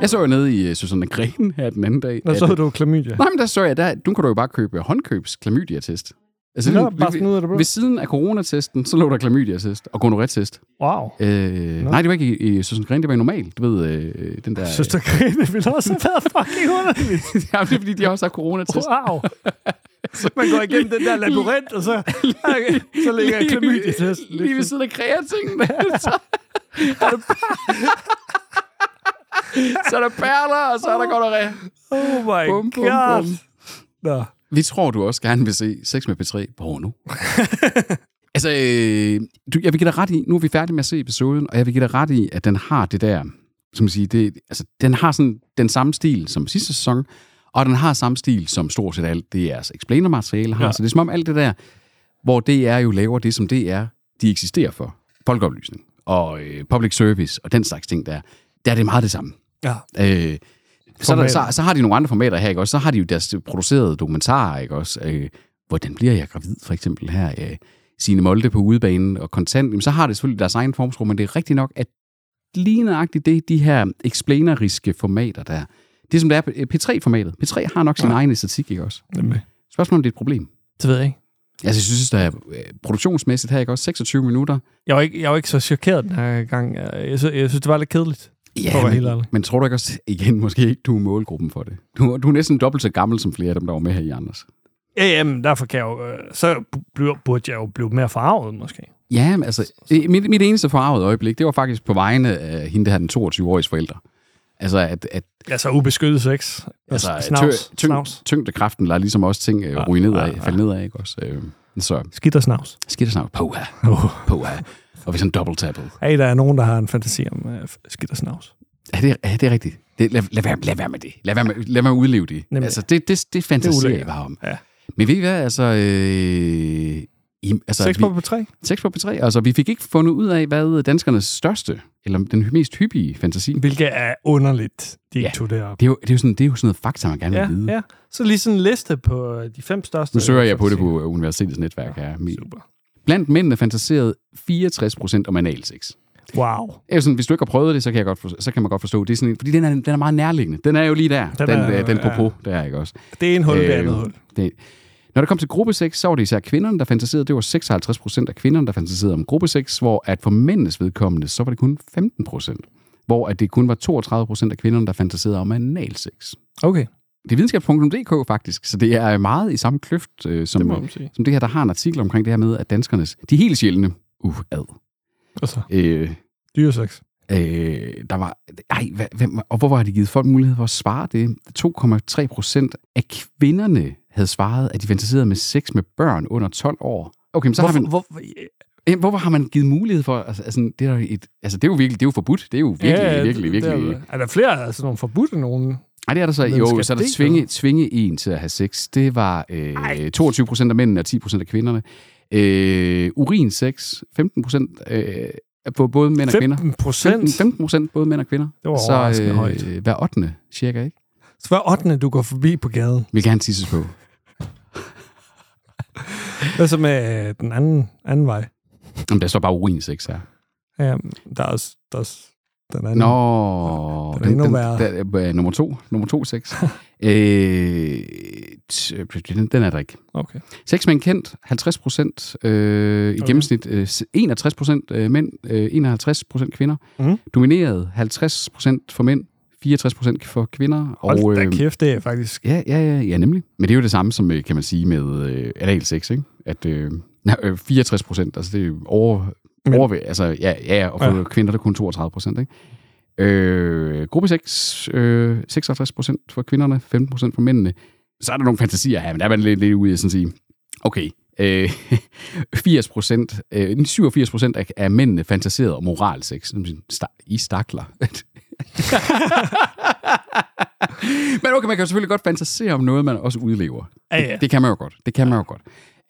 A: Jeg så jo nede i øh, Susanne Gren her den anden dag.
C: Nå,
A: at-
C: så havde du klamydia.
A: Nej, men der så jeg, der, nu kan du jo bare købe håndkøbs klamydia-test. Altså,
C: Nå,
A: det-
C: bare sådan ud af det blå.
A: ved siden af coronatesten, så lå der klamydia-test og gonorrhea-test.
C: Wow.
A: Øh,
C: Nå.
A: nej, det var ikke i, i Susanne Gren, det var i normal. Du ved, øh, den der...
C: Jeg synes, der grine ville også have været fucking underligt.
A: Jamen, det er, fordi de har også har coronatest.
C: Wow. Man går igennem den der labyrint, og så, okay, så ligger jeg klamydia-test.
A: Lige, lige ved siden af kreatingen. så, så er der perler, og så er der gonorrhea.
C: Oh my
A: Bum, bum,
C: god.
A: bum.
C: Nå.
A: Vi tror, du også gerne vil se Sex med P3 porno. altså, øh, du, jeg vil give dig ret i, nu er vi færdige med at se episoden, og jeg vil give dig ret i, at den har det der, som man siger, det, altså, den har sådan den samme stil som sidste sæson, og den har samme stil som stort set alt det, jeres explainer-materiale har. Ja.
C: Ja.
A: Så det er som om alt det der, hvor DR jo laver det, som det er, de eksisterer for. Folkeoplysning og øh, public service og den slags ting der. Der er det meget det samme.
C: Ja.
A: Øh, så, er der,
C: Formater.
A: så, så har de nogle andre formater her, ikke også? Så har de jo deres producerede dokumentarer, ikke også? Øh, hvordan bliver jeg gravid, for eksempel her? Øh, Signe Molde på udebanen og kontant. Jamen, så har det selvfølgelig deres egen formsprog, men det er rigtigt nok, at lige nøjagtigt det, de her explaineriske formater der, det som det er på øh, P3-formatet. P3 har nok sin ja. egen æstetik, ikke også?
C: Nemlig.
A: Spørgsmålet om det er et problem.
C: Det ved jeg ikke.
A: Altså, jeg synes, der er øh, produktionsmæssigt her, ikke også? 26 minutter.
C: Jeg var ikke, jeg var ikke så chokeret den her gang. Jeg synes, jeg synes det var lidt kedeligt. For at være helt
A: men,
C: ærlig.
A: men tror du ikke også, igen, måske ikke, du er målgruppen for det? Du, du er næsten dobbelt så gammel som flere af dem, der var med her i Anders.
C: Ja, jamen, derfor kan jeg jo, øh, så bl- burde jeg jo blive mere farvet, måske.
A: Ja, men altså, øh, mit, mit eneste forarvet øjeblik, det var faktisk på vegne af hende, der havde den 22-årige forældre. Altså, at, at
C: Altså ubeskyttet sex.
A: altså,
C: Altså,
A: tø-
C: snavs. Tø- snavs.
A: tyng, tyngdekraften lader ligesom også ting øh,
C: Ja,
A: ryge nedad,
C: ja, ja.
A: falde nedad, ikke også? Øh, så
C: Skidt og snavs.
A: skidt og snart, poha, poha, og vi sådan double tappet.
C: Hey, der er nogen, der har en fantasi om øh, skidt og snavs.
A: Ja, det, er- ja, det er rigtigt. Det, lad, lad, være, lad være med det. Lad være med, lad være med at udleve det.
C: Nemlig.
A: Altså, det, det, det fantaserer
C: ulækkert.
A: jeg bare om.
C: Ja.
A: Men ved I hvad, altså... Øh, i, altså
C: Sex
A: vi,
C: på på tre?
A: sex på P3. Altså, vi fik ikke fundet ud af, hvad danskernes største, eller den mest hyppige fantasi. Det
C: Hvilket er underligt, de ikke
A: Ja.
C: tog det op.
A: er jo, det er jo sådan, det er jo sådan noget fakta, man gerne vil
C: Ja,
A: vide.
C: ja. Så lige sådan en liste på øh, de fem største.
A: Nu søger jeg på det
C: fantasier.
A: på øh, universitetets netværk her.
C: Super.
A: Blandt mændene fantaserede 64 procent om analsex.
C: Wow.
A: Det er jo sådan, hvis du ikke har prøvet det, så kan, jeg godt forstå, så kan man godt forstå det. er sådan, en- fordi den er, den er meget nærliggende. Den er jo lige der. Den, den,
C: Den er-
A: øh, den
C: ja.
A: popo, der er ikke også.
C: Det er en hul, øh, det er
A: Øhm,
C: andet hul.
A: Det, når det kom til gruppesex, så var det især kvinderne, der fantaserede. Det var 56 procent af kvinderne, der fantaserede om gruppesex, hvor at for mændenes vedkommende, så var det kun 15 procent. Hvor at det kun var 32 procent af kvinderne, der fantaserede om analsex.
C: Okay,
A: Det er videnskab.dk faktisk, så det er meget i samme kløft, øh, som,
C: det
A: det
C: må man sige.
A: som det her, der har en artikel omkring det her med, at danskernes, de er helt sjældne, uad.
C: Og så
A: Øh,
C: dyresex.
A: øh, der var, ej, hvad, hvem, og hvorfor har de givet folk mulighed for at svare det? 2,3 procent af kvinderne havde svaret, at de fantaserede med sex med børn under 12 år. Okay, men så
C: Hvorfor,
A: har man,
C: hvorfor,
A: Jamen, hvorfor har man givet mulighed for, altså, altså det er jo et, altså det er jo virkelig, det er jo forbudt, det er jo virkelig, ja, virkelig, virkelig.
C: Der, er der flere af sådan nogle forbudte nogen?
A: Nej, det er der så,
C: Men
A: jo,
C: skal
A: så er der
C: det
A: tvinge,
C: være?
A: tvinge en til at have sex. Det var øh, 22 procent af mændene og 10 procent af kvinderne. Øh, urinsex, 15 procent øh, på både mænd og kvinder.
C: 15 procent?
A: 15 procent både mænd og kvinder. øh,
C: Det var overraskende højt.
A: hver 8. cirka, ikke?
C: Så hver 8. du går forbi på gaden.
A: Vil gerne tisses på.
C: Hvad så med øh, den anden, anden vej?
A: Jamen, der står bare urinsex her.
C: Ja, der er også, der er også den anden.
A: Nå,
C: Den er endnu værre.
A: der, øh, nummer to. Nummer to sex. øh, t- den, den er der ikke.
C: Okay.
A: Sex med en kendt, 50 procent øh, i
C: Okay.
A: gennemsnit. Øh, s- 61 procent øh, mænd, øh, 51 procent kvinder.
C: Mhm.
A: Domineret 50 procent for mænd, 64 procent for kvinder.
C: Hold
A: og, øh, øhm,
C: da kæft, det er faktisk...
A: Ja, ja, ja, ja, nemlig. Men det er jo det samme som, øh, kan man sige, med øh, analsex, ikke? At øh, nej, øh, 64 procent, altså det er over,
C: Men-
A: over altså ja, ja, og for ja.
C: Ja.
A: kvinder der er kun 32 procent, ikke? Øh, gruppe 6, øh, 56 procent for kvinderne, 15 procent for mændene. Så er der nogle fantasier her, men der er man lidt, lidt ude i at sådan sige, okay, øh, 80 procent, øh, 87 procent af, af mændene fantaserede om oralsex. Som sådan, "Sta- I stakler. Men okay, man kan jo selvfølgelig godt fantasere om noget, man også udlever.
C: Ja, ja.
A: Det, det kan man jo godt. Det kan man jo godt.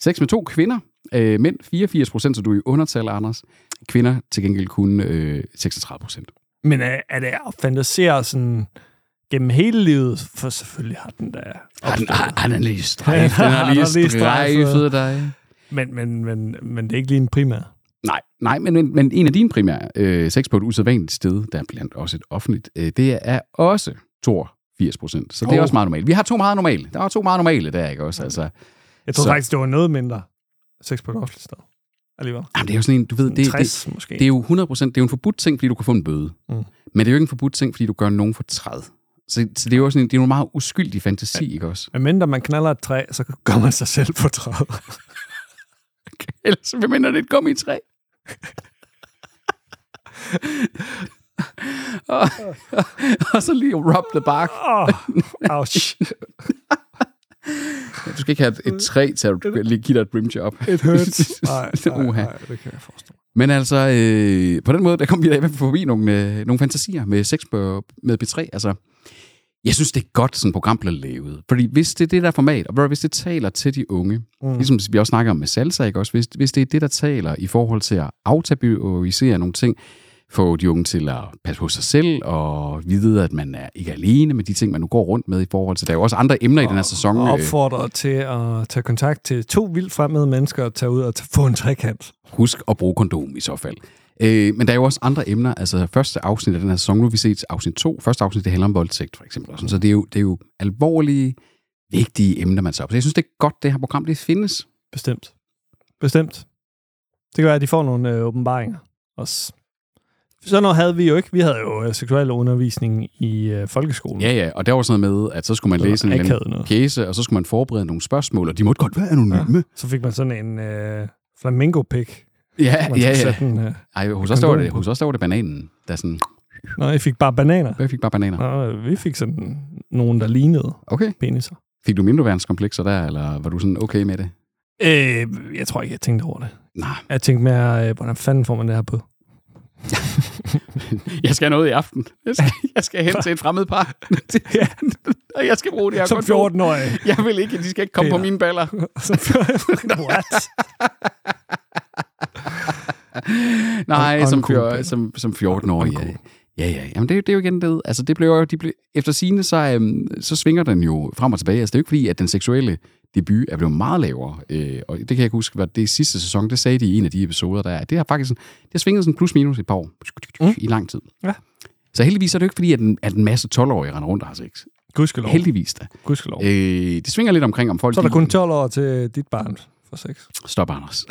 A: Sex med to kvinder. Øh, mænd 84 procent, så du er i undertal, Anders. Kvinder til gengæld kun øh, 36 procent.
C: Men er, er det at fantasere sådan gennem hele livet? For selvfølgelig har den der...
A: Har den, har, har den lige
C: Ja,
A: strejfet? Den
C: har
A: har
C: den
A: lige
C: lige
A: strejfet
C: strejfet.
A: dig.
C: Men, men, men, men det er ikke lige en primær.
A: Nej, nej men, men, men en af dine primære øh, sex på et usædvanligt sted, der er blandt også et offentligt, øh, det er også 82 procent. Så det er
C: Oh.
A: også meget normalt. Vi har to meget normale. Der er to meget normale der, ikke også? Altså,
C: Jeg tror
A: Så-
C: faktisk, det var noget mindre sex på et offentligt sted. Alligevel.
A: jamen, det er jo sådan en, du ved, det,
C: Det,
A: det,
C: 60 det, måske.
A: Det er jo 100%, det er jo en forbudt ting, fordi du kan få en bøde. Mm.
C: Mm.
A: Men det er jo ikke en forbudt ting, fordi du gør nogen for træd. Så, så det er jo også en, det er jo en meget uskyldig fantasi, ikke også?
C: Men mindre man knaller et træ, så gør man sig selv på træet.
A: Ellers hvem ender det et gummitræ? og, og, og, så lige rub the bark.
C: Åh, ouch.
A: Du skal ikke have et, et træ til at lige give dig et rimjob.
C: It hurts. Nej, nej,
A: Uha.
C: nej, det kan jeg forstå.
A: Men altså, øh, på den måde, der kom vi da i hvert fald forbi nogle, øh, nogle fantasier med sex på, med B3. Altså, jeg synes, det er godt, sådan et program bliver lavet. Fordi hvis det er det der format, og hvis det taler til de unge, mm. ligesom vi også snakker om med salsa, ikke også? Hvis, hvis det er det, der taler i forhold til at aftabuisere nogle ting, få de unge til at passe på sig selv, og vide, at man er ikke alene med de ting, man nu går rundt med i forhold til. Der er jo også andre emner i den her sæson.
C: Og
A: øh,
C: opfordrer til at tage kontakt til to vildt fremmede mennesker og tage ud og t- få en trekant.
A: Husk at bruge kondom i så fald. Øh, men der er jo også andre emner. Altså første afsnit af den her sæson, nu har vi set afsnit 2. Første afsnit, det handler om voldtægt for eksempel. og Sådan. Så det er, jo, det er jo alvorlige, vigtige emner, man så op. Så jeg synes, det er godt, det her program det findes.
C: Bestemt. Bestemt. Det kan være, at de får nogle øh, åbenbaringer også. Sådan noget havde vi jo ikke. Vi havde jo øh, seksuel undervisning i øh, folkeskolen.
A: Ja, ja, og der var sådan noget med, at Mm. så skulle man
C: Det var
A: læse en eller
C: akavet
A: anden
C: noget.
A: pjæse, og så skulle man forberede nogle spørgsmål, og de måtte godt være anonyme.
C: Så fik man sådan en øh, flamingo-pik.
A: Ja,
C: man
A: ja,
C: skulle
A: ja.
C: sætte den, øh.
A: Ej, hos os, der var det, hos os der var det bananen, der sådan,
C: Nå, I fik bare bananer.
A: jeg fik bare bananer.
C: Nå, øh, vi fik sådan nogen, der lignede
A: Okay.
C: peniser.
A: Fik du mindreværenskomplekser der, eller var du sådan okay med det?
C: Øh, jeg tror ikke, jeg tænkte over det.
A: Nej,
C: Jeg tænkte mere, øh, hvordan fanden får man det her på?
A: jeg skal have noget i aften. Jeg skal, jeg skal hen til et fremmed par,
C: Ja,
A: og jeg skal bruge det her
C: som
A: godt nu.
C: 14-årig.
A: Jeg vil ikke, de skal ikke komme på
C: Peter.
A: mine baller.
C: Som 14 What? Og- og
A: Nej,
C: en
A: som,
C: cool
A: fjor,
C: baller.
A: som, som 14-årig,
C: Og en
A: ja. Ja, ja. Jamen, det, er jo- det er jo igen det. Altså, det blev jo... De blev, efter sine så, øhm, så svinger den jo frem og tilbage. Altså, det er jo ikke fordi, at den seksuelle debut er blevet meget lavere. Øh, og det kan jeg ikke huske, hvad det er sidste sæson, det sagde de i en af de episoder, der er. Det har faktisk sådan, det har svinget sådan plus minus et par år. Mm. I lang tid.
C: Ja.
A: Så heldigvis er det jo ikke fordi, at en, at en masse 12-årige render rundt og har sex.
C: Gudskelov.
A: Heldigvis da.
C: Gudskelov.
A: Øh, det svinger lidt omkring, om folk...
C: Så er der
A: de-
C: kun 12 år til dit barn for sex.
A: Stop, Anders.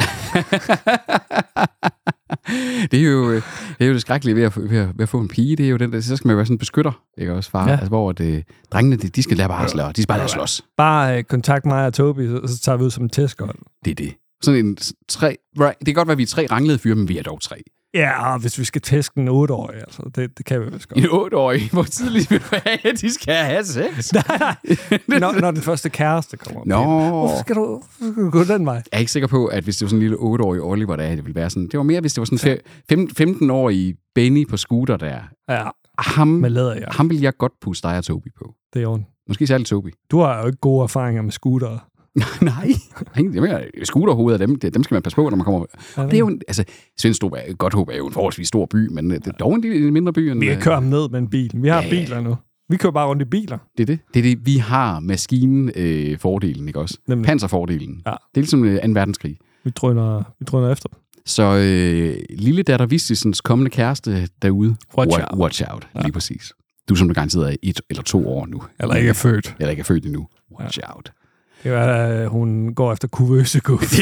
A: det, er jo, øh, det er jo det skrækkelige ved at, få- ved at, ved at få en pige. Det er jo den der, så skal man jo være sådan en beskytter, ikke også, far? Ja.
C: Ja.
A: Altså, hvor det, drengene, de, de skal lære bare at slå. De skal bare lære at slås.
C: Bare øh, kontakt mig og Tobi, så, så tager vi ud som en tæskånd.
A: Det er det. Sådan en s- tre... Right. Det kan godt være, at vi er tre ranglede fyre, men vi er dog tre.
C: Ja, og hvis vi skal tæske en 8-årig, altså. Det, det kan vi vist godt.
A: En otteårig, hvor tidligt vil du have, at de skal have sex?
C: nej, nej. Når, når den første kæreste kommer.
A: Nå,
C: Hvorfor skal, du, hvorfor skal du gå den vej?
A: jeg er ikke sikker på, at hvis det var sådan en lille 8-årig Oliver, der det ville være sådan. Det var mere, hvis det var sådan en 15-årig Benny på scooter der.
C: Ja,
A: Ham,
C: med læder, ja.
A: ham vil jeg godt puste dig og Tobi på.
C: Det er ondt.
A: Måske særligt Tobi.
C: Du har jo ikke gode erfaringer med scootere.
A: Nej. Nej, jeg mener, scooterhoveder, dem, det- dem skal man passe på, når man kommer. Det er jo, en, altså, Svendstrup er, godt håb er jo en forholdsvis stor by, men øh, det er dog en lille en mindre by. End,
C: Vi kan
A: øh,
C: køre ham ned med en bil. Vi har
A: Ja.
C: ja. biler nu. Vi kører bare rundt i biler.
A: Det er det. Det er det, vi har maskinefordelen, øh, fordelen, ikke også?
C: Nemlig.
A: Panserfordelen.
C: Mm. Ja.
A: Det er ligesom øh, 2. verdenskrig.
C: Vi drøner, vi drøner efter dem.
A: Så øh, lille datter Vistelsens kommende kæreste derude,
C: Watch
A: wa-
C: out.
A: watch out ja. lige præcis. Du som du garanteret er et eller to år nu.
C: Eller ikke er født.
A: Eller ikke er født endnu. Watch ja. out.
C: Det kan være, at øh, hun går efter kuvøse guf.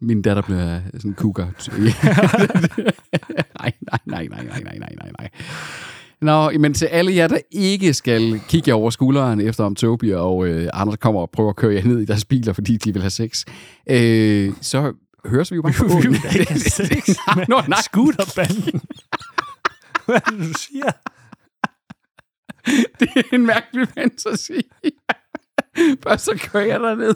A: Min datter bliver sådan en kukker. nej, nej, nej, nej, nej, nej, nej, nej, nej. Nå, men til alle jer, der ikke skal kigge jer over skulderen efter om Tobi og øh, Anders kommer og prøver at køre jer ned i deres biler, fordi de vil have sex, øh, så høres vi jo bare på
C: Vi
A: båden.
C: vil ikke have sex med
A: Nå, nej.
C: scooterbanden. Hvad er det, du siger?
A: Det er en mærkelig fantasi. Først så kører jeg derned.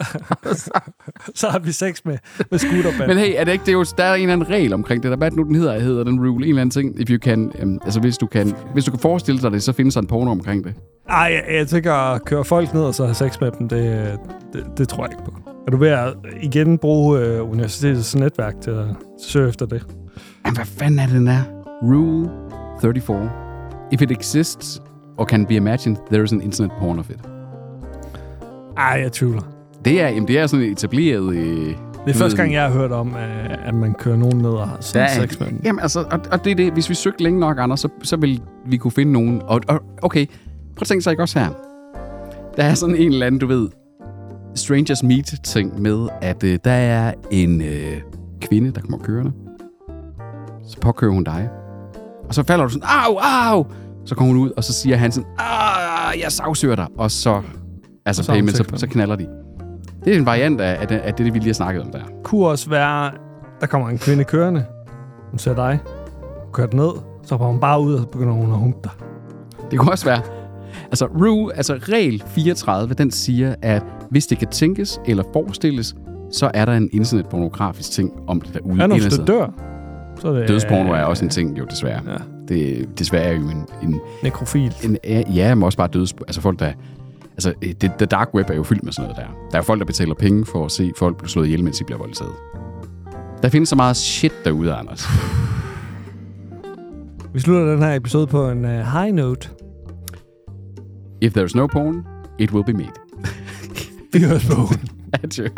C: Så har vi sex med, med scooterbanden.
A: Men hey, er det ikke, det er jo, der er en eller anden regel omkring det der. Hvad er det nu, den hedder? Hedder den rule? En eller anden ting, if you can, um, altså hvis du kan, hvis du kan forestille dig det, så findes der en porno omkring det.
C: Ej, jeg, jeg tænker at køre folk ned og så have sex med dem, det, det, det tror jeg ikke på. Er du ved at igen bruge øh, universitetets netværk til at søge efter det?
A: Jamen, hvad fanden er det, den er? Rule 34. If it exists or can be imagined, there is an internet porn of it.
C: Ej, jeg tvivler.
A: Det er, jamen, det er sådan et etableret... Øh,
C: Det er første gang, jeg har hørt om, øh, at man kører nogen ned og har
A: der
C: sådan
A: er,
C: sex med dem.
A: jamen, altså, og, og det er det. Hvis vi søgte længe nok, Anders, så, så vil vi kunne finde nogen. Og, og okay, prøv at tænke sig ikke også her. Der er sådan en eller anden, du ved, strangers meet-ting med, at øh, der er en øh, kvinde, der kommer kørende. Så påkører hun dig. Og så falder du sådan, au, au! Så kommer hun ud, og så siger han sådan, ah, jeg sagsøger dig. Og så, altså
C: Og så
A: så,
C: har hun
A: payment, så,
C: sex med
A: så
C: ham.
A: knaller de. Det er en variant af, af, det- af det, vi lige har snakket om der.
C: kunne også være, der kommer en kvinde kørende. Hun ser dig. Hun kører den ned. Så hopper hun bare ud, og så begynder hun at humpe dig.
A: Det kunne også være. Altså, rule, altså regel 34, den siger, at hvis det kan tænkes eller forestilles, så er der en internetpornografisk ting om det derude.
C: Ja, når
A: Et eller
C: hvis du
A: andet
C: dør, så er det... øh,
A: sted. Dødsporno er også en ting, jo desværre.
C: Ja.
A: Det desværre er jo en, en,
C: Nekrofil.
A: en ja, men også bare døds... Altså folk, der... Altså, øh, det, the dark web er jo fyldt med sådan noget der. Der er jo folk, der betaler penge for at se folk blive slået ihjel, mens de bliver voldtaget. Der findes så meget shit derude, Anders.
C: Vi slutter den her episode på en uh, high note.
A: If there's no porn, it will be made.
C: Vi høres på ugen.
A: Adieu.